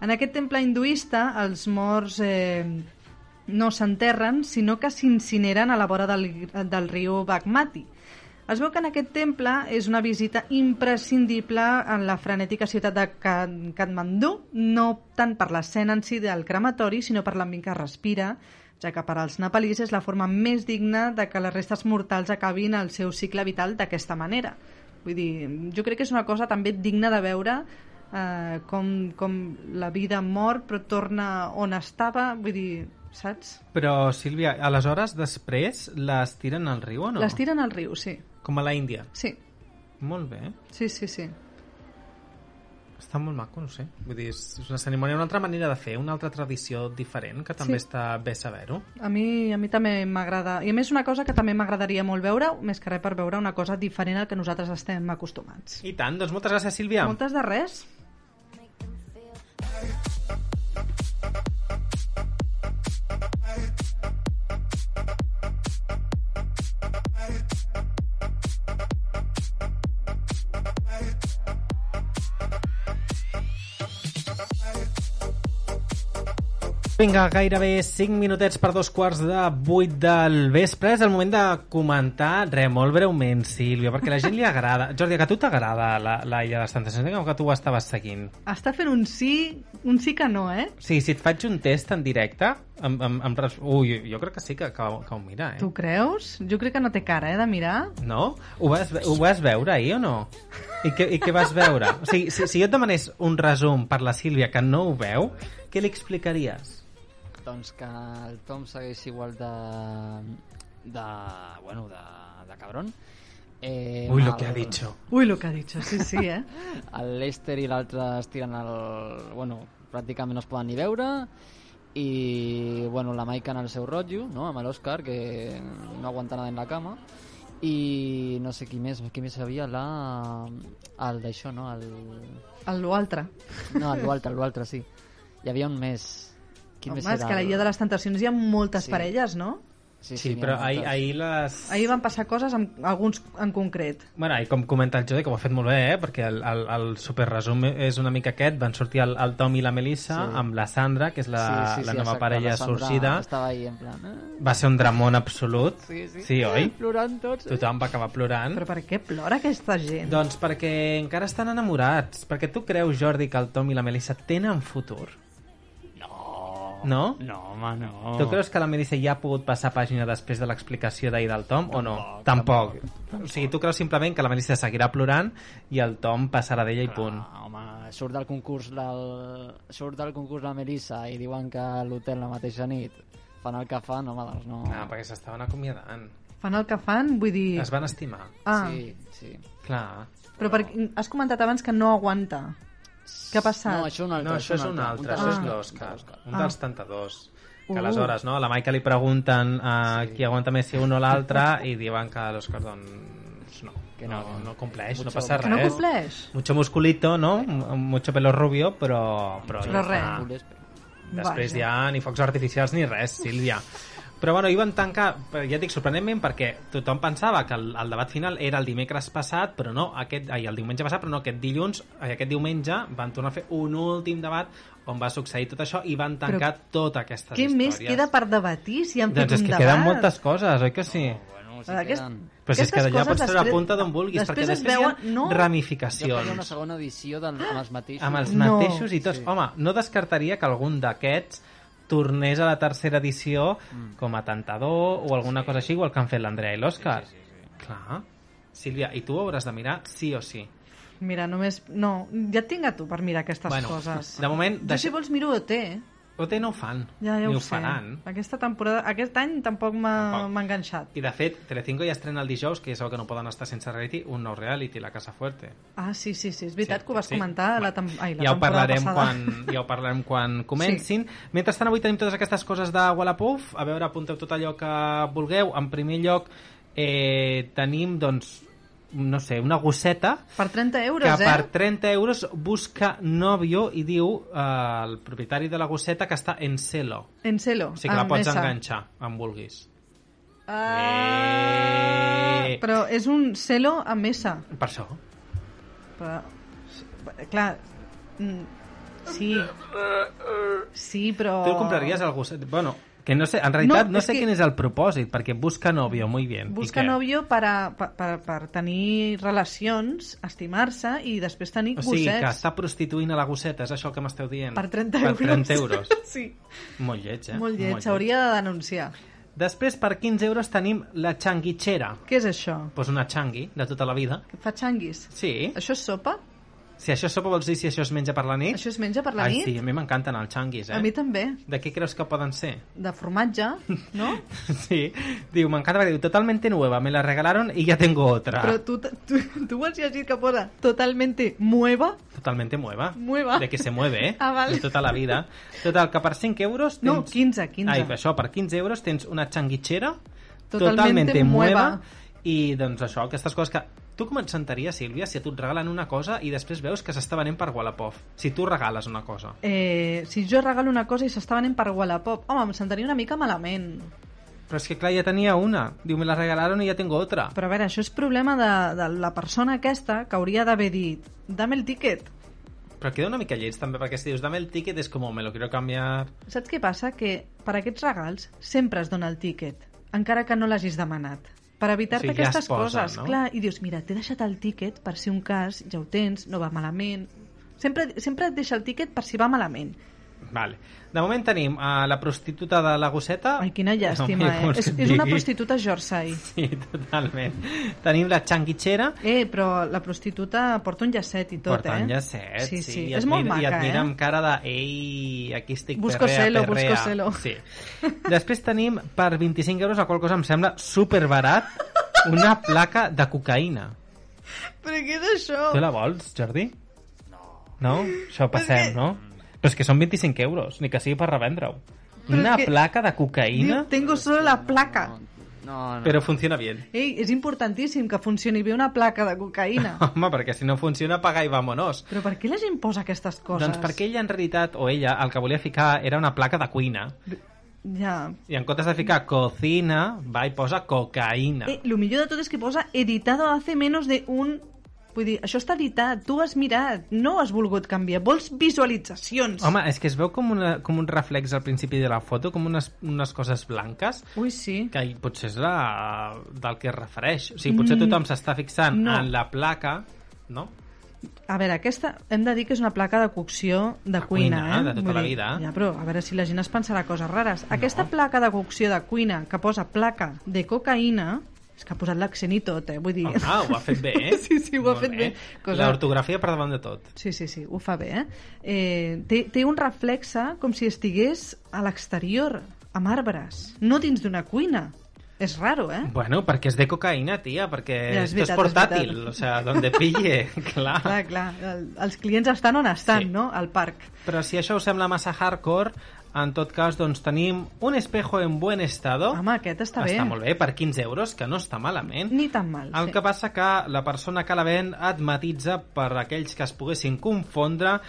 En aquest temple hinduista, els morts eh, no s'enterren, sinó que s'incineren a la vora del, del riu Bagmati. Es veu que en aquest temple és una visita imprescindible en la frenètica ciutat de Ka- Katmandú, no tant per l'escena en si del crematori, sinó per l'ambient que respira, ja que per als nepalís és la forma més digna de que les restes mortals acabin el seu cicle vital d'aquesta manera. Vull dir, jo crec que és una cosa també digna de veure eh, com, com la vida mor però torna on estava, vull dir, saps? Però, Sílvia, aleshores, després, les tiren al riu o No. no? Les tiren al riu, sí. Com a la Índia. Sí, Molt bé. sí, sí, sí. Està molt maco, no sé. Vull dir, és és una cerimònia, una altra manera de fer, una altra tradició diferent, que també Sí. està bé saber-ho. A mi, a mi també m'agrada. I a més una cosa que també m'agradaria molt veure, més que res per veure una cosa diferent al que nosaltres estem acostumats. I tant, doncs moltes gràcies, Sílvia. Moltes de res. Vinga, gairebé 5 minutets per dos quarts de 8 del vespre. És el moment de comentar, re, molt breument, Sílvia, perquè a la gent li agrada. Jordi, que a tu t'agrada la, la Illa de les Tentacions, com que tu ho estaves seguint. Està fent un sí, un sí que no, eh? Sí, si et faig un test en directe, em, em, em res... Ui, jo crec que sí que, que, ho- que ho mira, eh? Tu creus? Jo crec que no té cara, eh, de mirar. No? Ho vas, ve- ho vas veure ahir o no? I què, i què vas veure? O sigui, si, si jo et demanés un resum per la Sílvia que no ho veu, què li explicaries? Doncs que el Tom segueix igual de... de... bueno, de, de cabron. Eh, Ui, el- lo que ha dicho. Ui, lo que ha dit, sí, sí, eh? El Leicester i l'altre es tiren el... Bueno, pràcticament no es poden ni veure i bueno, la Maica en el seu rotllo no? amb l'Òscar que no aguanta nada en la cama i no sé qui més, qui més havia la... el d'això, no? El... El lo altre. No, el l'altre, el l'altre, sí. Hi havia un més. Home, és que a la Illa de les Tentacions hi ha moltes sí. Sí. parelles, no? Sí, Sí, n'hi ha però moltes. ahir, ahir les... Ahir van passar coses, amb alguns en concret. Bueno, i com comenta el Jode, que ho ha fet molt bé, eh? perquè el, el, el superresum és una mica aquest, van sortir el, el Tom i la Melissa Sí. sí. amb la Sandra, que és la, sí, sí, la nova exacte, parella la Sandra sorgida. Estava ahí en plan... Eh? Va ser un dramón absolut. Sí, sí. sí oi? Plorant tots. Tothom va acabar plorant. Però per què plora aquesta gent? Doncs perquè encara estan enamorats. Perquè tu creus, Jordi, que el Tom i la Melissa tenen futur? No. No? No, home, no. Tu creus que la Melissa ja ha pogut passar pàgina després de l'explicació d'ahir del Tom o no? Tampoc. O sigui, tu creus simplement que la Melissa seguirà plorant i el Tom passarà d'ella i punt. Ah, home, surt del concurs del... surt del concurs la Melissa i diuen que a l'hotel la mateixa nit fan el que fan, home, doncs no. Ah, perquè s'estaven acomiadant. Fan el que fan, vull dir... Es van estimar. Ah, Sí, sí. Clar. però per... has comentat abans que no aguanta. Què ha passat? No, això un altre. No, això és un altre, això és l'Òscar. Un Ah. dels tentadors. Que Uh. aleshores, no? A la Maica li pregunten a qui aguanta més si un o l'altre i diuen que l'Òscar, doncs, no. Que no, que no. no compleix, no Mucho- passa que no res. compleix? Mucho musculito, no? M- Mucho pelo rubio, però... Però, Però ja res. està. Després Vaja. ja ni focs artificials ni res, Sílvia. Però bueno, hi van tancar, però ja et dic, sorprenentment, perquè tothom pensava que el, el debat final era el dimecres passat, però no, aquest, ai, el diumenge passat, però no, aquest dilluns, ai, aquest diumenge van tornar a fer un últim debat on va succeir tot això i van tancar però tota aquesta Què més històries. queda per debatir si han fet Doncs és un que debat? queden moltes coses, oi que sí? Bueno, sí Aquest- queden. Però si és que aquestes d'allà coses pots treure després- punta d'on vulguis, després perquè es després veuen- no. hi ha Jo faria una ramificacions segona edició del, amb els mateixos. amb els No. mateixos i tots. Home, no descartaria que algun d'aquests tornés a la tercera edició com a tentador o alguna cosa així, igual que han fet l'Andrea i l'Òscar. Sí, sí, sí, sí. Clar. Sílvia, i tu ho hauràs de mirar sí o sí. Mira, només... No, ja et tinc a tu per mirar aquestes Bueno, coses. de moment, Jo, deixa- si vols, miro OT. OT no ho fan, Ja, ja ni ho, ho sé. faran. Aquesta temporada... Aquest any tampoc m'ha Tampoc. m'ha enganxat. I de fet, Telecinco ja estrena el dijous, que ja sabeu que no poden estar sense reality, un nou reality, La Casa Fuerte. Ah, sí, sí, sí. És veritat Sí, que ho vas sí. comentar la, tem... Ai, la ja ho temporada parlarem passada. quan, ja ho parlarem quan comencin. Sí. Mentrestant, avui tenim totes aquestes coses de Wallapop. A veure, apunteu tot allò que vulgueu. En primer lloc, eh, tenim, doncs, no sé, una gosseta Per 30 euros, que eh? per 30 euros busca nòvio i diu eh, el propietari de la gosseta que està en celo. En celo. O sigui que la amb pots S. enganxar, en vulguis. Ah, Eh. però és un celo amb S. Per això. Però, clar, mm, sí. Sí, però... Tu el compraries el gosset... Bueno, que no sé, en realitat no, és sé que- quin és el propòsit, perquè busca nòvio, muy bien. I Busca què? nòvio per, a, per, per, per tenir relacions, estimar-se i després tenir O sigui, que gossets està prostituint a la gosseta, és això el que m'esteu dient? per 30 euros. Per 30 euros. sí, Molt lleig, eh? molt lleig. Hauria de denunciar. Després, per 15 euros, tenim la xanguitxera. Què és això? Pues una xangui, de tota la vida. Que fa xanguis? Sí. Això és sopa? Si això sopa vols dir si això es menja per la nit? Això es menja per la Ai, nit? sí, a mi m'encanten els xanguis, eh? A mi també. De què creus que poden ser? De formatge, no? sí. Diu, m'encanta, perquè diu, totalmente nueva, me la regalaron y ya tengo otra. Però tu, tu, tu m'has llegit que posa totalmente nueva? Totalmente mueva. Mueva. De que se mueve, eh? Ah, vale. De tota la vida. Total, que per 5 euros... No, tens- 15, 15. Ai, per això, per 15 euros tens una xanguitxera Totalmente mueva. i doncs això, aquestes coses que... Tu com et sentaries, Sílvia, si a tu et regalen una cosa i després veus que s'està venent per Wallapop? Si tu regales una cosa. Eh, si jo regalo una cosa i s'està venent per Wallapop, home, em sentaria una mica malament. Però és que, clar, ja tenia una. Diu, me la regalaron i ja tengo otra. Però a veure, això és problema de, de la persona aquesta que hauria d'haver dit dame el tiquet. Però queda una mica lleig, també, perquè si dius, dame el ticket, és com, "Oh, me lo quiero cambiar... Saps què passa? Que per aquests regals sempre es dona el tiquet, encara que no l'hagis demanat. Per evitar-te O sigui, ja aquestes es posa, coses, no? clar, i dius, mira, t'he deixat el tiquet per si un cas, ja ho tens, no va malament... Sempre, sempre et deixa el tiquet per si va malament. Vale. De moment tenim a la prostituta de la gosseta... Ai, quina llàstima, Ah. Home, eh? vols És, que et és una digui? prostituta Jorsai. Sí, totalment. Tenim la xanguitxera, Eh, però la prostituta porta un llacet i tot, Tot, Portant eh? llacet, Sí, sí, i és et molt mira, I maca, et mira eh? amb cara de, ei, aquí estic Busco perrea, celo, perrea. busco celo. Sí. Després tenim per 25 euros, a qual cosa em sembla superbarat, una placa de cocaïna. eh? Però què és això? Tu la vols, Jordi? No. No? Això passem, no? Però és que són 25 euros, ni que sigui per revendre-ho. Però Una és que- placa de cocaïna, Diu, tengo solo la placa. No, no. però funciona bé. Ei, és importantíssim que funcioni bé una placa de cocaïna. Home, perquè si no funciona, paga i Doncs vamonos. Però per què la gent posa aquestes coses? Doncs perquè ella, en realitat, o ella, el que volia ficar era una placa de cuina. Ja. I en comptes de ficar cocina, va i posa cocaïna. Eh, lo millor de tot és que posa editado hace menos de un... Vull dir, això està editat, tu has mirat, no has volgut canviar, vols visualitzacions. Home, és que es veu com, una, com un reflex al principi de la foto, com unes, unes coses blanques, Ui, sí. que hi- potser és la, del que es refereix. O sigui, potser tothom s'està fixant Mm. no. en la placa, no? A veure, aquesta hem de dir que és una placa de cocció de cuina, cuina, eh? de tota Vull la dir, vida. Ja, però a veure si la gent es pensarà coses rares. Aquesta placa de cocció de cuina que posa placa de cocaïna és que ha posat l'accent i tot, eh? Vull dir... Home, Ah, ho ha fet bé, eh? Sí, sí, ho ha fet bé. Cosa- L'ortografia per davant de tot. Sí, sí, sí, ho fa bé, eh? eh té, té un reflexe com si estigués a l'exterior, amb arbres, no dins d'una cuina. És raro, eh? Bueno, perquè és de cocaïna, tia, perquè Ja, ja, és és, és veritat, és portàtil, veritat. o sea, donde pille, clar. clar. Clar, clar, el, els clients estan on estan, Sí. no? Al parc. Però si això us sembla massa hardcore, en tot cas, doncs tenim un espejo en buen estado. Home, aquest està, està bé. molt bé, per 15 euros, que no està malament. Ni tan mal. El que passa que la persona que la ven et matitza per aquells que es poguessin confondre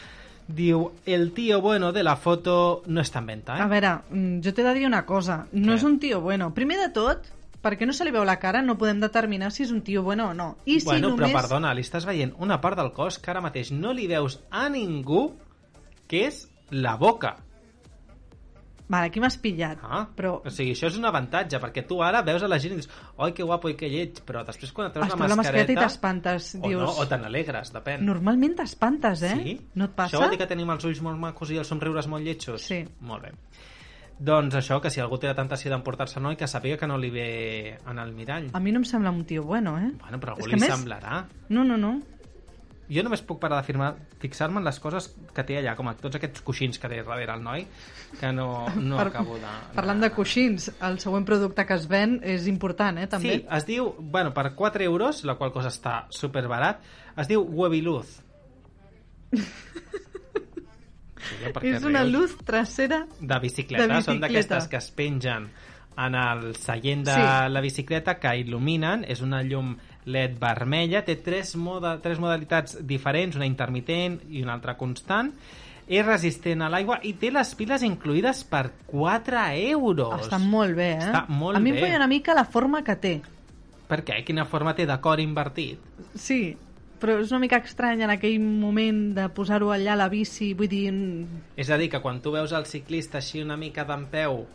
diu, el tío bueno de la foto no està en venta, eh? A veure, mm, jo t'he de dir una cosa. No Què? és un tio bueno. Primer de tot, perquè no se li veu la cara, no podem determinar si és un tio bueno o no. I si bueno, només... però perdona, li estàs veient una part del cos que ara mateix no li veus a ningú, que és la boca. Vale, aquí m'has pillat. Ah, però O sigui, això és un avantatge, perquè tu ara veus a la gent i dius oi, que guapo i que lleig, però després quan et treus es la treu la mascareta i mascareta... t'espantes. o Dius... no, o te n'alegres, depèn. Normalment t'espantes, eh? Sí? No et passa? Això vol dir que tenim els ulls molt macos i els somriures molt lletjos? Sí. Molt bé. Doncs això, que si algú té la tentació d'emportar-se noi, que sàpiga que no li ve en el mirall. A mi no em sembla un tio bueno, eh? Bueno, però a És algú que li a més- semblarà. No, no, no. Jo només puc parar de firmar, fixar-me en les coses que té allà, com a tots aquests coixins que té darrere el noi, que no, no Par- acabo de... Parlant de coixins, el següent producte que es ven és important, eh, també? Sí, es diu, bueno, per 4 euros, la qual cosa està superbarat, es diu Webiluz. Julia, per què és una rius? luz trasera... de bicicleta, De bicicleta. són d'aquestes que es pengen en el seient de Sí. la bicicleta que il·luminen, és una llum LED vermella, té tres, moda, tres modalitats diferents, una intermitent i una altra constant, és resistent a l'aigua i té les piles incluïdes per 4 euros. Està molt bé, eh? Està molt a mi em bé. feia una mica la forma que té. Per què? Quina forma té de cor invertit? Sí, però és una mica estrany en aquell moment de posar-ho allà a la bici, vull dir... mm, És a dir, que quan tu veus el ciclista així una mica d'en peu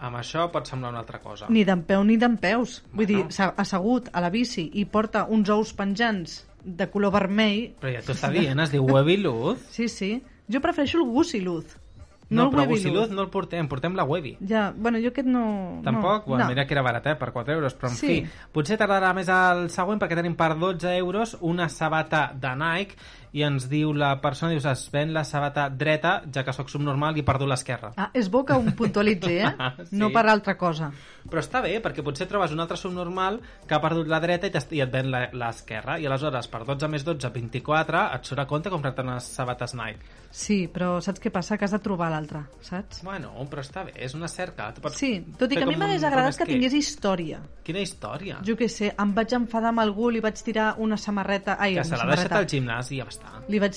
amb això pot semblar una altra cosa. Ni d'en peu ni d'en peus. Vull Bueno. dir, s'ha assegut a la bici i porta uns ous penjants de color vermell. Però ja t'ho està dient, es diu Webiluz. Sí, sí. Jo prefereixo el gust i luz. No, el però web i Gusiluz luz. no el portem, portem la Webi. Ja, bueno, jo aquest no... Tampoc? no. Bueno, mira que era barat, eh? Per 4 euros, però en Sí. sí. fi. Potser tardarà més el següent perquè tenim per 12 euros una sabata de Nike i ens diu la persona, dius, es ven la sabata dreta, ja que sóc subnormal i perdo l'esquerra. Ah, és bo que un puntualitzi, eh? Sí. No per altra cosa. Però està bé, perquè potser trobes un altre subnormal que ha perdut la dreta i, t'est- i et ven la- l'esquerra. I aleshores, per 12 més 12, 24, et surt a compte comprar-te unes sabates Nike. Sí, però saps què passa? Que has de trobar l'altre, saps? Bueno, però està bé, és una cerca. Tu pots Sí, tot i fer que a mi com m'hagués un agradat que romesquer. tingués història. Quina història. Jo què sé, em vaig enfadar amb algú, li vaig tirar una samarreta... Ai, Que una se l'ha samarreta. deixat al gimnàs i ja està. Li vaig...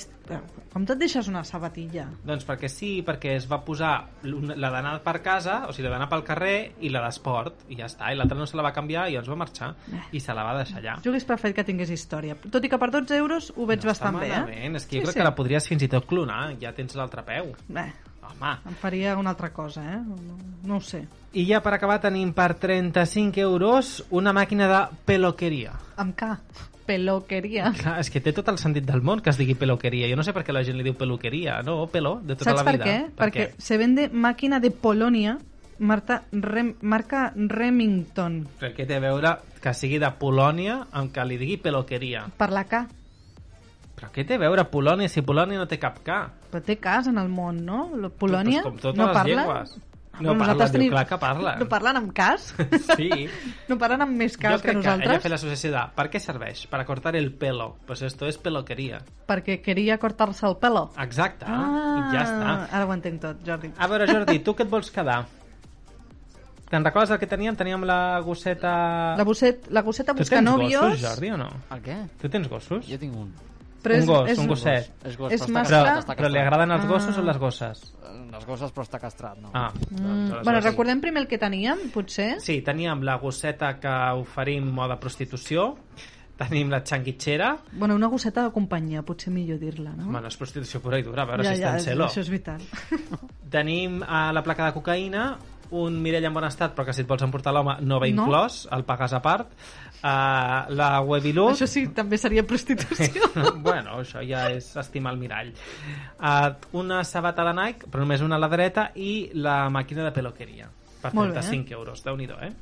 Com te't deixes una sabatilla? Doncs perquè sí, perquè es va posar l'una- la d'anar per casa, o sigui, la d'anar pel carrer i la d'esport, i ja està. I l'altra no se la va canviar i ens va marxar Eh. i se la va deixar allà. Jo hagués preferit que tingués història. Tot i que per 12 euros ho veig bastant bé, eh? malament. És que jo sí, crec sí. que la podries fins i tot clonar, ja tens l'altre peu. Eh, Home, em faria una altra cosa, eh? No, no ho sé. i ja per acabar tenim per 35 euros una màquina de peloqueria. Amb K. Peloqueria. Clar, és que té tot el sentit del món que es digui peloqueria. Jo no sé per què la gent li diu peluqueria, no? Pelo, de tota Saps la per vida. què? Perquè se vende màquina de Polònia Marta Rem, marca Remington Perquè què té a veure que sigui de Polònia amb que li digui peloqueria? per la K. Però què té a veure Polònia si Polònia no té cap K? Però té cas en el món, no? La Polònia com totes no les parla? llengües. No parla, diu, clar que parla. No parlen amb cas? Sí. no parlen amb més cas jo crec que que ella nosaltres? ha fet l'associació de per què serveix? Per cortar el pelo. Pues esto es peloqueria. Perquè queria cortar-se el pelo. Exacte. Ah. Ah, I ja està. Ah, Ara ho entenc tot, Jordi. A veure, Jordi, tu què et vols quedar? Te'n recordes el que teníem? Teníem la gosseta... La, gosset, la gosseta Tu busca tens nòvios... gossos, Jordi, o no? El què? Tu tens gossos? Jo tinc un. Però un és- gos, és- un gosset. És gos, És però està massa- castrat, Però, està però li castrat. Eh, agraden els Ah. gossos o les gosses? Les gosses, però està castrat, no? Ah. Mm, bueno, recordem primer el que teníem, potser? Sí, teníem la gosseta que oferim moda prostitució, tenim la xanguitxera, Bueno, una gosseta de companyia, potser millor dir-la, no? bueno, és prostitució pura i dura, a veure si està en celo. això és vital. Tenim a la placa de cocaïna, un mirell en bon estat, però que si et vols emportar l'home no ve No. inclòs, el pagues a part. Uh, la Webilut... Això sí, també seria prostitució. bueno, això ja és estimar el mirall. Uh, una sabata de Nike, però només una a la dreta, i la màquina de peluqueria, per Molt bé. 35 euros. déu nhi eh?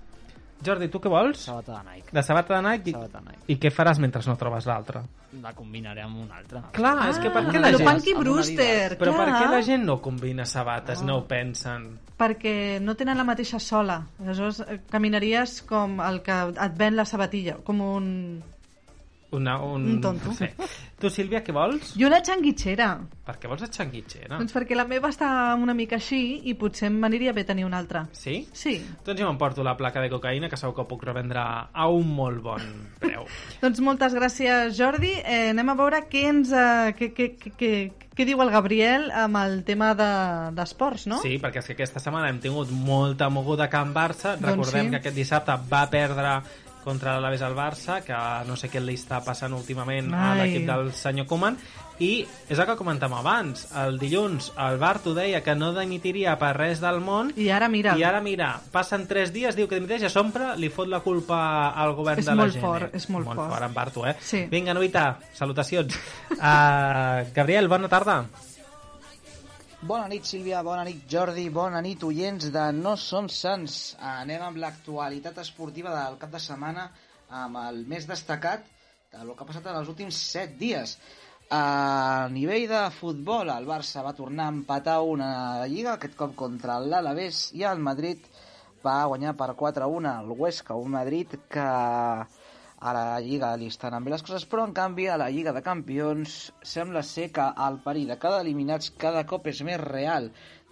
Jordi, tu què vols? Sabata de Nike. La sabata de Nike? Sabata de Nike. I què faràs mentre no trobes l'altra? La combinaré amb una altra. Clar, ah, és que per Ah, què la lo gent... Punky Brewster, Però per clar. què la gent no combina sabates, no ho pensen? Perquè no tenen la mateixa sola. Aleshores, eh, caminaries com el que et ven la sabatilla, com un... Una, un... Un tonto. No sé. Tu, Sílvia, què vols? Jo una xanguitxera. Per què vols la xanguitxera? Doncs perquè la meva està una mica així i potser m'aniria bé tenir una altra. Sí? Sí. Doncs jo m'emporto la placa de cocaïna, que segur que ho puc revendre a un molt bon preu. Doncs moltes gràcies, Jordi. Eh, anem a veure què ens... Eh, què, què, què, què, què diu el Gabriel amb el tema de- d'esports, de, no? Sí, perquè és que aquesta setmana hem tingut molta moguda a Can Barça. Doncs Recordem sí. que aquest dissabte va perdre contra l'Alaves al Barça, que no sé què li està passant últimament a Ai. l'equip del senyor Koeman. I és el que comentàvem abans. El dilluns el Barto deia que no dimitiria per res del món I ara, mira, I ara, mira, passen 3 dies, diu que dimiteix a Sompra, li fot la culpa al govern És de la molt gent. eh? fort, és molt molt fort. fort. en Barto, eh? Sí. Vinga, Novita, salutacions. Uh, Gabriel, bona tarda. Bona nit, Sílvia, bona nit, Jordi, bona nit, oients de No Som Sants. Anem amb l'actualitat esportiva del cap de setmana, amb el més destacat del que ha passat en els últims set dies. A nivell de futbol, el Barça va tornar a empatar una lliga, aquest cop contra l'Alavés, i el Madrid va guanyar per 4-1 el Huesca, un Madrid que a la Lliga li estan amb les coses, però en canvi a la Lliga de Campions sembla ser que el perill de cada eliminats cada cop és més real.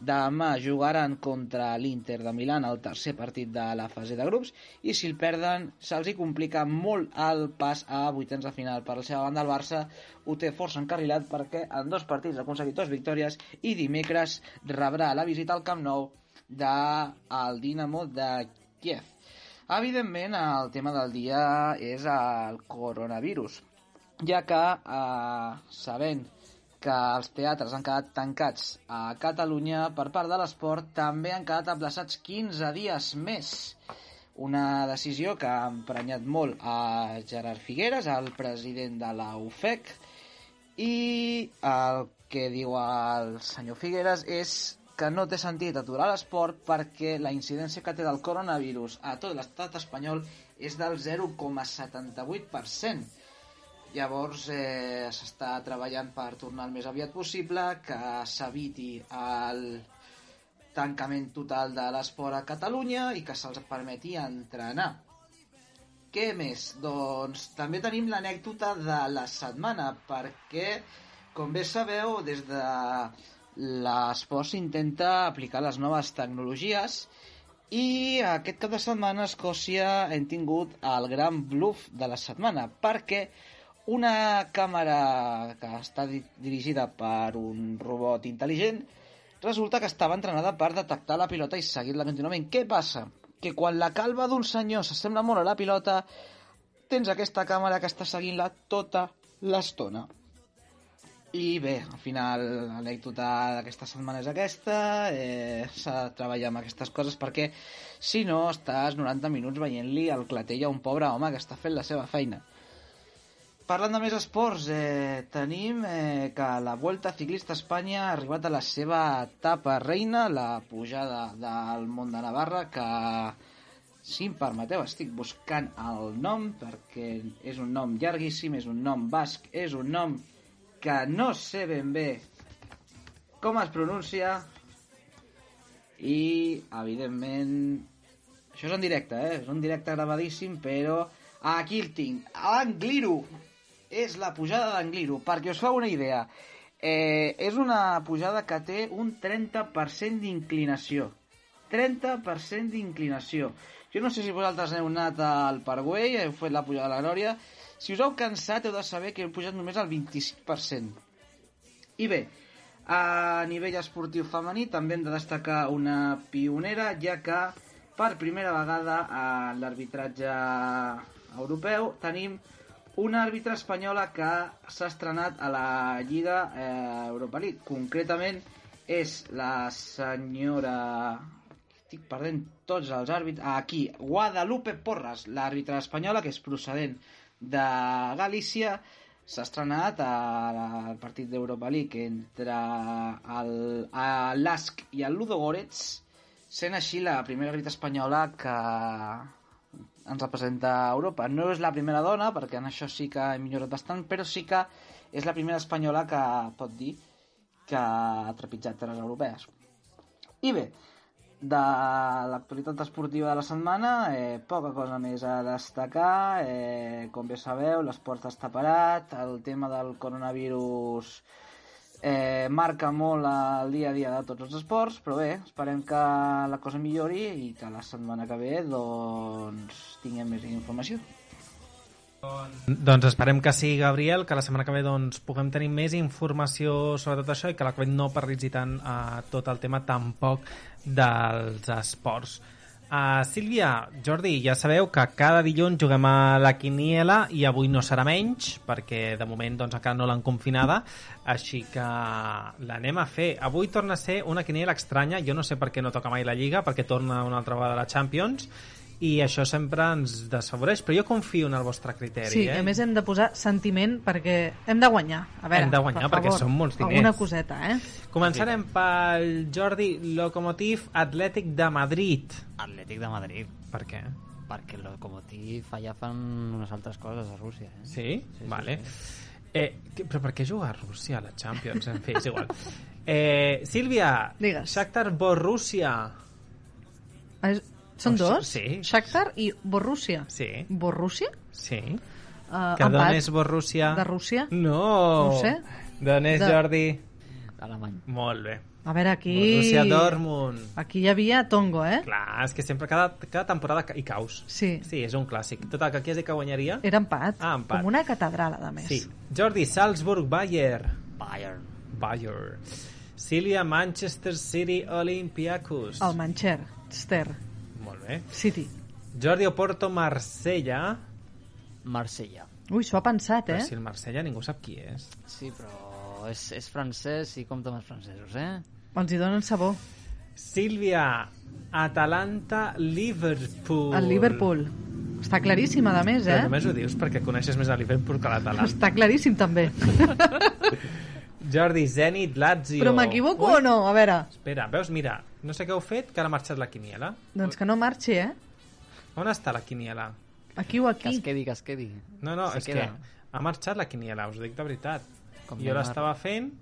Demà jugaran contra l'Inter de Milán el tercer partit de la fase de grups i si el perden se'ls hi complica molt el pas a vuitens de final. Per la seva banda el Barça ho té força encarrilat perquè en dos partits ha aconseguit dues victòries i dimecres rebrà la visita al Camp Nou del el Dinamo de Kiev. Evidentment, el tema del dia és el coronavirus, ja que, eh, sabent que els teatres han quedat tancats a Catalunya per part de l'esport, també han quedat aplaçats 15 dies més. Una decisió que ha emprenyat molt a Gerard Figueres, el president de la UFEC, i el que diu el senyor Figueres és que no té sentit aturar l'esport perquè la incidència que té del coronavirus a tot l'estat espanyol és del 0,78%. Llavors eh, s'està treballant per tornar el més aviat possible, que s'eviti el tancament total de l'esport a Catalunya i que se'ls permeti entrenar. Què més? Doncs també tenim l'anècdota de la setmana, perquè, com bé sabeu, des de l'esport s'intenta aplicar les noves tecnologies i aquest cap de setmana a Escòcia hem tingut el gran bluff de la setmana, perquè una càmera que està di- dirigida per un robot intel·ligent Resulta que estava entrenada per detectar la pilota i seguir-la contínuament. Què passa? Que quan la calva d'un senyor s'assembla molt a la pilota, tens aquesta càmera que està seguint-la tota l'estona. I bé, al final l'anècdota d'aquesta setmana és aquesta, eh, s'ha de treballar amb aquestes coses perquè si no estàs 90 minuts veient-li el clatell a un pobre home que està fent la seva feina. Parlant de més esports, eh, tenim eh, que la Vuelta Ciclista a Espanya ha arribat a la seva etapa reina, la pujada del món de Navarra, que, si em permeteu, estic buscant el nom, perquè és un nom llarguíssim, és un nom basc, és un nom que no sé ben bé com es pronuncia, i, evidentment, això és en directe, eh? És un directe gravadíssim, però... Aquí el tinc. Angliru. És la pujada d'Angliru. Perquè us fa una idea. Eh, és una pujada que té un 30% d'inclinació. 30% d'inclinació. Jo no sé si vosaltres heu anat al Parkway, heu fet la pujada de la Glòria, Si us heu cansat, heu de saber que hem pujat només el 25%. I bé, a nivell esportiu femení també hem de destacar una pionera, ja que per primera vegada a l'arbitratge europeu tenim una àrbitra espanyola que s'ha estrenat a la Lliga eh, Europa League. Concretament és la senyora... Estic perdent tots els àrbits... Ah, Aquí, Guadalupe Porras, l'àrbitra espanyola que és procedent de Galícia, s'ha estrenat al partit d'Europa League entre l'ASC i el Ludogorets, sent així la primera grita espanyola que ens representa a Europa. No és la primera dona, perquè en això sí que he millorat bastant, però sí que és la primera espanyola que pot dir que ha trepitjat terres europees. I bé, de l'actualitat esportiva de la setmana, eh, poca cosa més a destacar. Eh, com bé sabeu, l'esport està parat, el tema del coronavirus eh, marca molt el dia a dia de tots els esports, però bé, esperem que la cosa millori i que la setmana que ve doncs, tinguem més informació. Doncs esperem que sí, Gabriel, que la setmana que ve doncs, puguem tenir més informació sobre tot això i que la Covid no paralitzi tant eh, tot el tema tampoc dels esports. Uh, Sílvia, Jordi, ja sabeu que cada dilluns juguem a la Quiniela i avui no serà menys, perquè de moment doncs, encara no l'han confinada, així que l'anem a fer. Avui torna a ser una Quiniela estranya, jo no sé per què no toca mai la Lliga, perquè torna una altra vegada a la Champions, i això sempre ens desfavoreix, però jo confio en el vostre criteri. Sí, eh? a més hem de posar sentiment perquè hem de guanyar. A veure, Hem de guanyar per perquè favor, són molts diners. Alguna coseta, eh? Començarem pel Jordi Locomotiv Atlètic de Madrid. Atlètic de Madrid. Per què? Perquè el Lokomotiv allà fan unes altres coses a Rússia. Eh? Sí? vale. Eh, que- però per què jugar a Rússia a la Champions? En fi, és igual. Eh, Sílvia, Digues. Shakhtar Borussia. Ah, és- Són Oh, dos? sí. Shakhtar i Borrússia. Sí. Borrússia? Sí. Uh, Que d'on és Borussia? De Rússia? No. No ho sé. D'on és De- Jordi? Alemany. Molt bé. A veure, aquí... Borussia Dortmund. Aquí hi havia Tongo, eh? Clar, és que sempre cada, cada temporada ca- hi caus. Sí. Sí, és un clàssic. Total, que qui has dit que guanyaria? Era empat. Ah, empat. Com una catedral, a més. Sí. Jordi, Salzburg-Bayern. Bayern. Bayer. Sília, Manchester City, Olympiacos. El Manchester Molt bé. City. Jordi Oporto, Marsella. Marsella. Ui, s'ho ha pensat, Però eh? si el Marsella ningú sap qui és. Sí, però és, és francès i compta amb els francesos, eh? Els Doncs hi donen sabó. Sílvia, Atalanta, Liverpool. El Liverpool. Està claríssim, a més, Però eh? només ho dius perquè coneixes més el Liverpool que l'Atalanta. Està claríssim, també. Jordi, Zenit, Lazio. Però m'equivoco o no? A veure, Espera, veus, mira, no sé què heu fet, que ara ha marxat la quiniela. doncs que no marxi, eh? On està la quiniela? Aquí o Que es aquí. quedi, que es quedi. No, no, Se és queda. que ha marxat la quiniela, us ho dic de veritat. Com jo Neymar. l'estava fent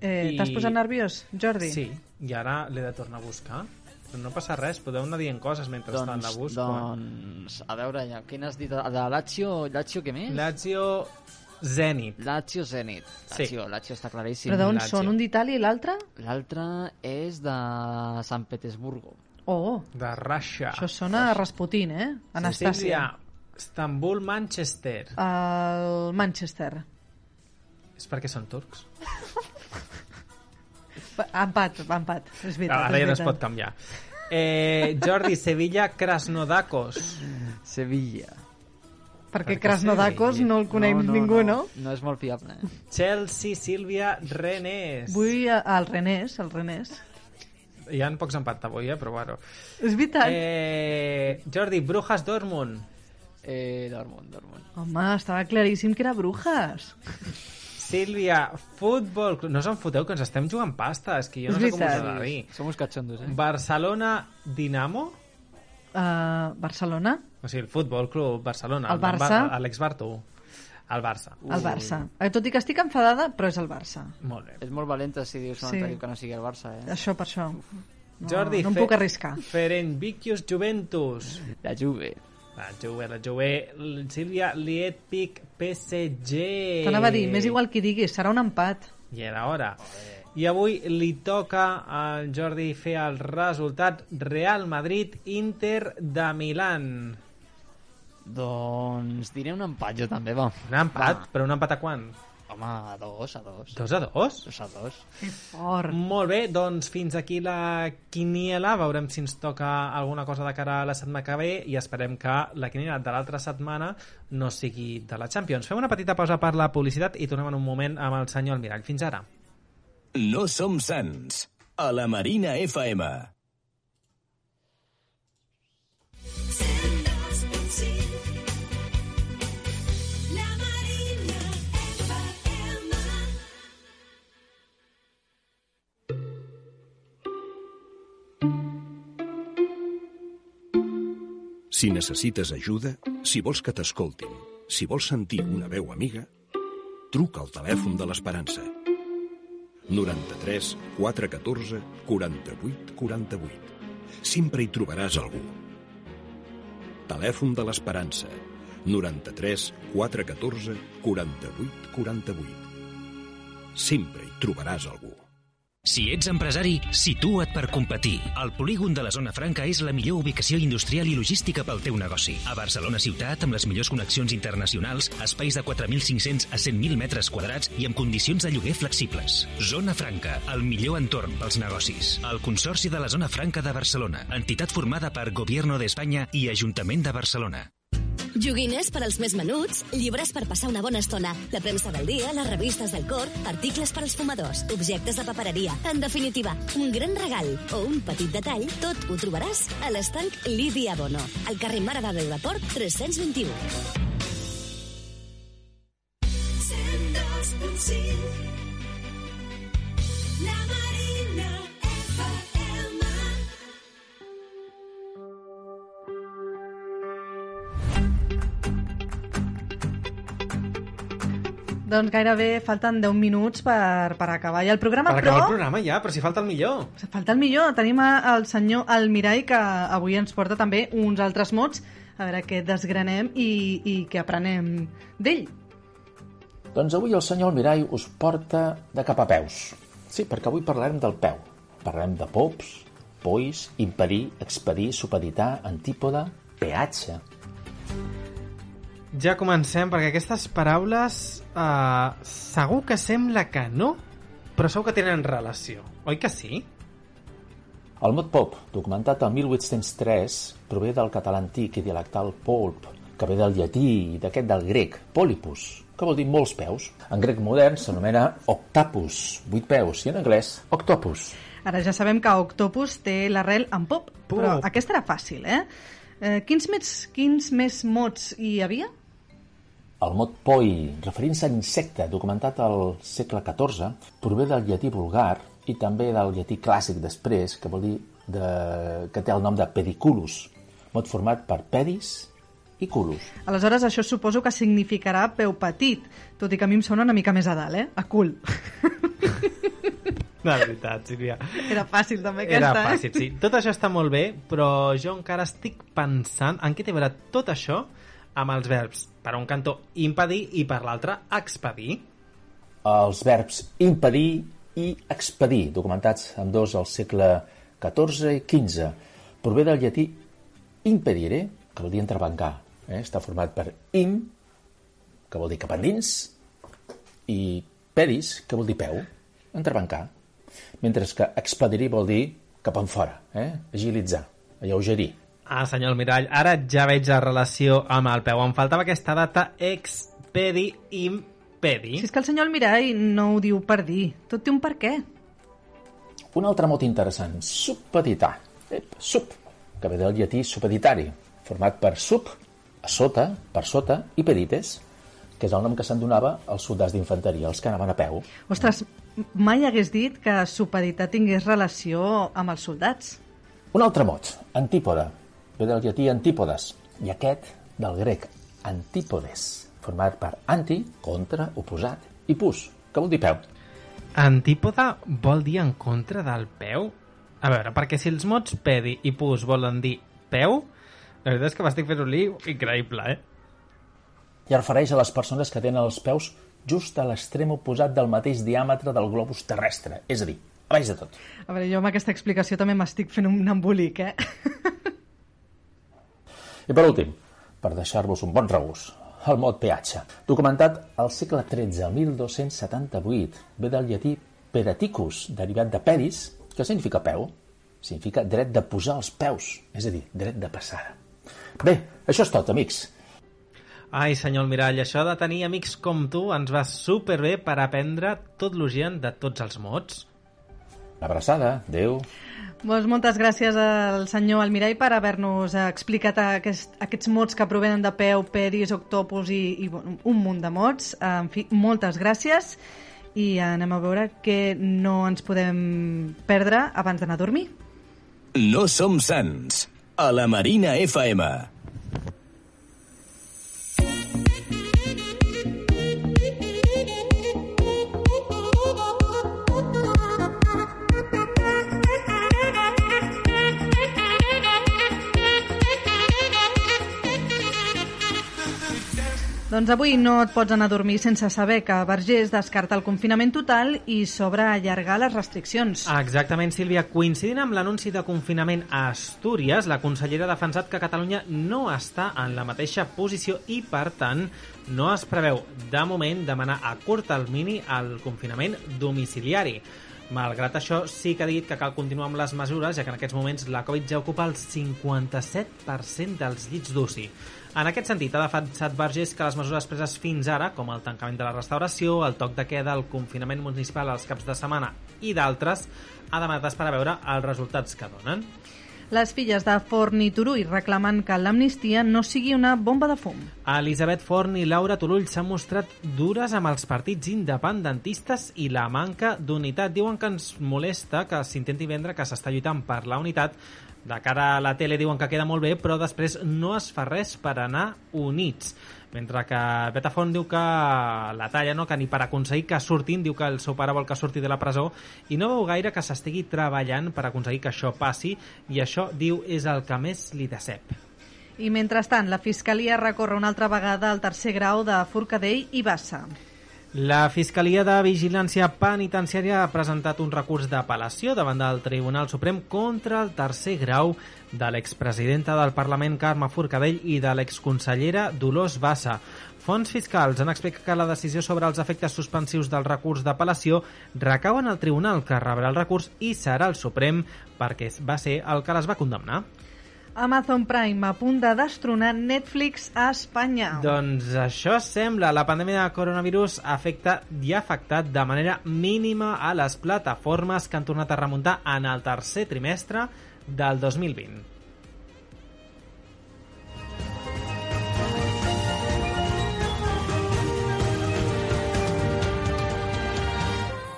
Eh, I- T'has posat nerviós, Jordi? Sí, i ara l'he de tornar a buscar. Però no passa res, podeu anar dient coses mentre doncs, la busco. doncs, a veure, ja, quin has dit? De Lazio, Lazio què més? Lazio Zenit. Lazio Zenit. Sí. Lazio, Lazio està claríssim. Però d'on Lazio. són? Un d'Itàlia i l'altre? L'altre és de Sant Petersburgo. Oh, De Russia. això sona a Rasputin, eh? Anastàcia. Sicília, Estambul, Manchester. Ah. El Manchester. És perquè són turcs. Va, Empat, va, empat. És veritat, Ah, Ara ja no és es pot veritat. canviar. Eh, Jordi, Sevilla, Krasnodakos. Sevilla. Perquè Perquè Krasnodakos sí. no el coneix ningú, no? no? No és molt fiable. eh? Chelsea, Sílvia, Rennes. Vull a- al Renés, al Renés. Hi ha pocs empats avui, eh, però bueno. És veritat. Eh... Eh, Jordi, Brujas, Dortmund. Eh, Dortmund, Dortmund. Home, estava claríssim que era Brujas. Sílvia, futbol... Club- No us enfoteu, que ens estem jugant pasta. És que jo no És sé com us veritat. ha de dir. Som uns catxondos, eh? Barcelona Dinamo? Uh, Barcelona, O sigui, el Futbol Club Barcelona. El Barça. Ba- L'ex Bartu. El Barça. el Barça. Eh, Tot i que estic enfadada, però és el Barça. Molt bé. És molt valenta si dius un Sí. altre que no sigui el Barça, eh? Això per això. No, Jordi, no em Fe- puc arriscar. Ferencváros Juventus. La Juve. La Juve, la Juve. L- Sílvia Lietpic PSG. T'anava a dir, Eh. m'és igual qui diguis, serà un empat. I era hora. I avui li toca al Jordi fer el resultat Real Madrid-Inter de Milan. Doncs diré un empat jo també, va. Un empat? Però un empat a quant? Home, a dos, a dos. Dos a dos? Dos a dos. Or. Molt bé, doncs fins aquí la quiniela. Veurem si ens toca alguna cosa de cara a la setmana que ve i esperem que la quiniela de l'altra setmana no sigui de la Champions. Fem una petita pausa per la publicitat i tornem en un moment amb el senyor Almirall. Fins ara. No som sants. A la Marina FM. Si necessites ajuda, si vols que t'escoltin, si vols sentir una veu amiga, truca al telèfon de l'Esperança. 93 414 48 48. Sempre hi trobaràs algú. Telèfon de l'Esperança. 93 414 48 48. Sempre hi trobaràs algú. Si ets empresari, situa't per competir. El polígon de la Zona Franca és la millor ubicació industrial i logística pel teu negoci. A Barcelona ciutat, amb les millors connexions internacionals, espais de 4.500 a 100.000 metres quadrats i amb condicions de lloguer flexibles. Zona Franca, el millor entorn pels negocis. El Consorci de la Zona Franca de Barcelona, entitat formada per Gobierno d'Espanya i Ajuntament de Barcelona. Joguines per als més menuts, llibres per passar una bona estona, la premsa del dia, les revistes del cor, articles per als fumadors, objectes de papereria. En definitiva, un gran regal o un petit detall, tot ho trobaràs a l'estanc Lídia Bono, al carrer Mare de Déu de Port 321. La Marina FM. Doncs gairebé falten 10 minuts per, per acabar ja el programa, Per acabar però... el programa ja, però si falta el millor. Falta el millor. Tenim a- el senyor Almirall, que avui ens porta també uns altres mots, a veure què desgranem i, i què aprenem d'ell. Doncs avui el senyor Almirall us porta de cap a peus. Sí, perquè avui parlarem del peu. Parlarem de pops, pois, impedir, expedir, supeditar, antípoda, peatge. Ja comencem, perquè aquestes paraules eh, segur que sembla que no, però segur que tenen relació. Oi que sí? El mot pop, documentat el 1803, prové del català antic i dialectal polp, que ve del llatí i d'aquest del grec, polipus, que vol dir molts peus. En grec modern s'anomena octapus, vuit peus, i en anglès octopus. Ara ja sabem que Octopus té l'arrel en pop, Pop. però aquesta era fàcil, eh? eh quins, més, quins més mots hi havia? El mot poi, referint-se a insecte, documentat al segle XIV, prové del llatí vulgar i també del llatí clàssic després, que vol dir de... que té el nom de pediculus, mot format per pedis i culus. Aleshores, això suposo que significarà peu petit, tot i que a mi em sona una mica més a dalt, eh? A cul. De veritat, Sílvia. Era fàcil, també, Era aquesta, eh? fàcil, sí. Tot això està molt bé, però jo encara estic pensant en què té a veure tot això amb els verbs, per un cantó, impedir i per l'altre, expedir. Els verbs impedir i expedir, documentats amb dos al segle XIV i XV, prové del llatí impedire, que vol dir entrebancar. Eh? Està format per im, que vol dir cap endins, i pedis, que vol dir peu, entrebancar. Mentre que expedir vol dir cap enfora, eh? agilitzar, alleugerir. Ah, senyor Almirall, ara ja veig la relació amb el peu. Em faltava aquesta data, expedi, impedi. Si és que el senyor Almirall no ho diu per dir, tot té un per què. Un altre mot interessant, subpeditar. Ep, sub, que ve del llatí subeditari, format per sub, a sota, per sota, i pedites, que és el nom que se'n donava als soldats d'infanteria, els que anaven a peu. Ostres, mai hagués dit que supeditar tingués relació amb els soldats. Un altre mot, antípoda, ve del llatí antípodes, i aquest del grec antípodes, format per anti, contra, oposat, i pus, que vol dir peu. Antípoda vol dir en contra del peu? A veure, perquè si els mots pedi i pus volen dir peu, la veritat és que m'estic fent un lío increïble, eh? i es refereix a les persones que tenen els peus just a l'extrem oposat del mateix diàmetre del globus terrestre, és a dir, a baix de tot. A veure, jo amb aquesta explicació també m'estic fent un embolic, eh? I per últim, per deixar-vos un bon regús. El mot peatge. Documentat al segle XIII, 1278, ve del llatí peraticus, derivat de peris, que significa peu. Significa dret de posar els peus, és a dir, dret de passada. Bé, això és tot, amics. Ai, senyor Mirall, això de tenir amics com tu ens va superbé per aprendre tot l'ogen de tots els mots. Una abraçada, adeu. Doncs moltes gràcies al senyor Almirall per haver-nos explicat aquest, aquests mots que provenen de peu, peris, octopus i, i bueno, un munt de mots. En fi, moltes gràcies i anem a veure que no ens podem perdre abans d'anar a dormir. No som sants. A la Marina FM. Doncs avui no et pots anar a dormir sense saber que Vergés descarta el confinament total i s'obre a allargar les restriccions. Ah, Exactament, Sílvia. Coincidint amb l'anunci de confinament a Astúries, la consellera ha defensat que Catalunya no està en la mateixa posició i, per tant, no es preveu, de moment, demanar a curt termini el confinament domiciliari. Malgrat això, sí que ha dit que cal continuar amb les mesures, ja que en aquests moments la Covid ja ocupa el 57% dels llits d'UCI. En aquest sentit, ha defensat Vergés que les mesures preses fins ara, com el tancament de la restauració, el toc de queda, el confinament municipal als caps de setmana i d'altres, ha demanat esperar a veure els resultats que donen. Les filles de Forn i Turull reclamen que l'amnistia no sigui una bomba de fum. Elisabet Forn i Laura Turull s'han mostrat dures amb els partits independentistes i la manca d'unitat. Diuen que ens molesta que s'intenti vendre que s'està lluitant per la unitat. De cara a la tele diuen que queda molt bé, però després no es fa res per anar units. Mentre que Betafont diu que la talla, no? que ni per aconseguir que surtin, diu que el seu pare vol que surti de la presó, i no veu gaire que s'estigui treballant per aconseguir que això passi, i això, diu, és el que més li decep. I mentrestant, la Fiscalia recorre una altra vegada al tercer grau de Forcadell i Bassa. La Fiscalia de Vigilància Penitenciària ha presentat un recurs d'apel·lació davant del Tribunal Suprem contra el tercer grau de l'expresidenta del Parlament Carme Forcadell i de l'exconsellera Dolors Bassa. Fons fiscals han explicat que la decisió sobre els efectes suspensius del recurs d'apel·lació recau en el tribunal que rebrà el recurs i serà el Suprem perquè va ser el que les va condemnar. Amazon Prime a punt de destronar Netflix a Espanya. Doncs això sembla. La pandèmia de coronavirus afecta i ha afectat de manera mínima a les plataformes que han tornat a remuntar en el tercer trimestre del 2020.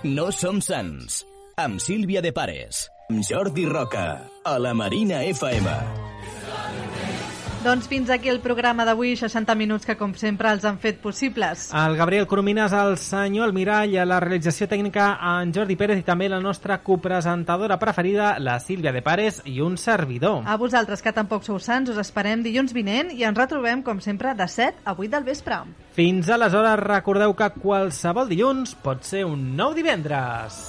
No som sants. Amb Sílvia de Pares. Jordi Roca. A la Marina FM. Doncs fins aquí el programa d'avui, 60 minuts que com sempre els han fet possibles. El Gabriel Coromines, el senyor Almirall, a la realització tècnica en Jordi Pérez i també la nostra copresentadora preferida, la Sílvia de Pares i un servidor. A vosaltres, que tampoc sou sants, us esperem dilluns vinent i ens retrobem, com sempre, de 7 a 8 del vespre. Fins aleshores, recordeu que qualsevol dilluns pot ser un nou divendres.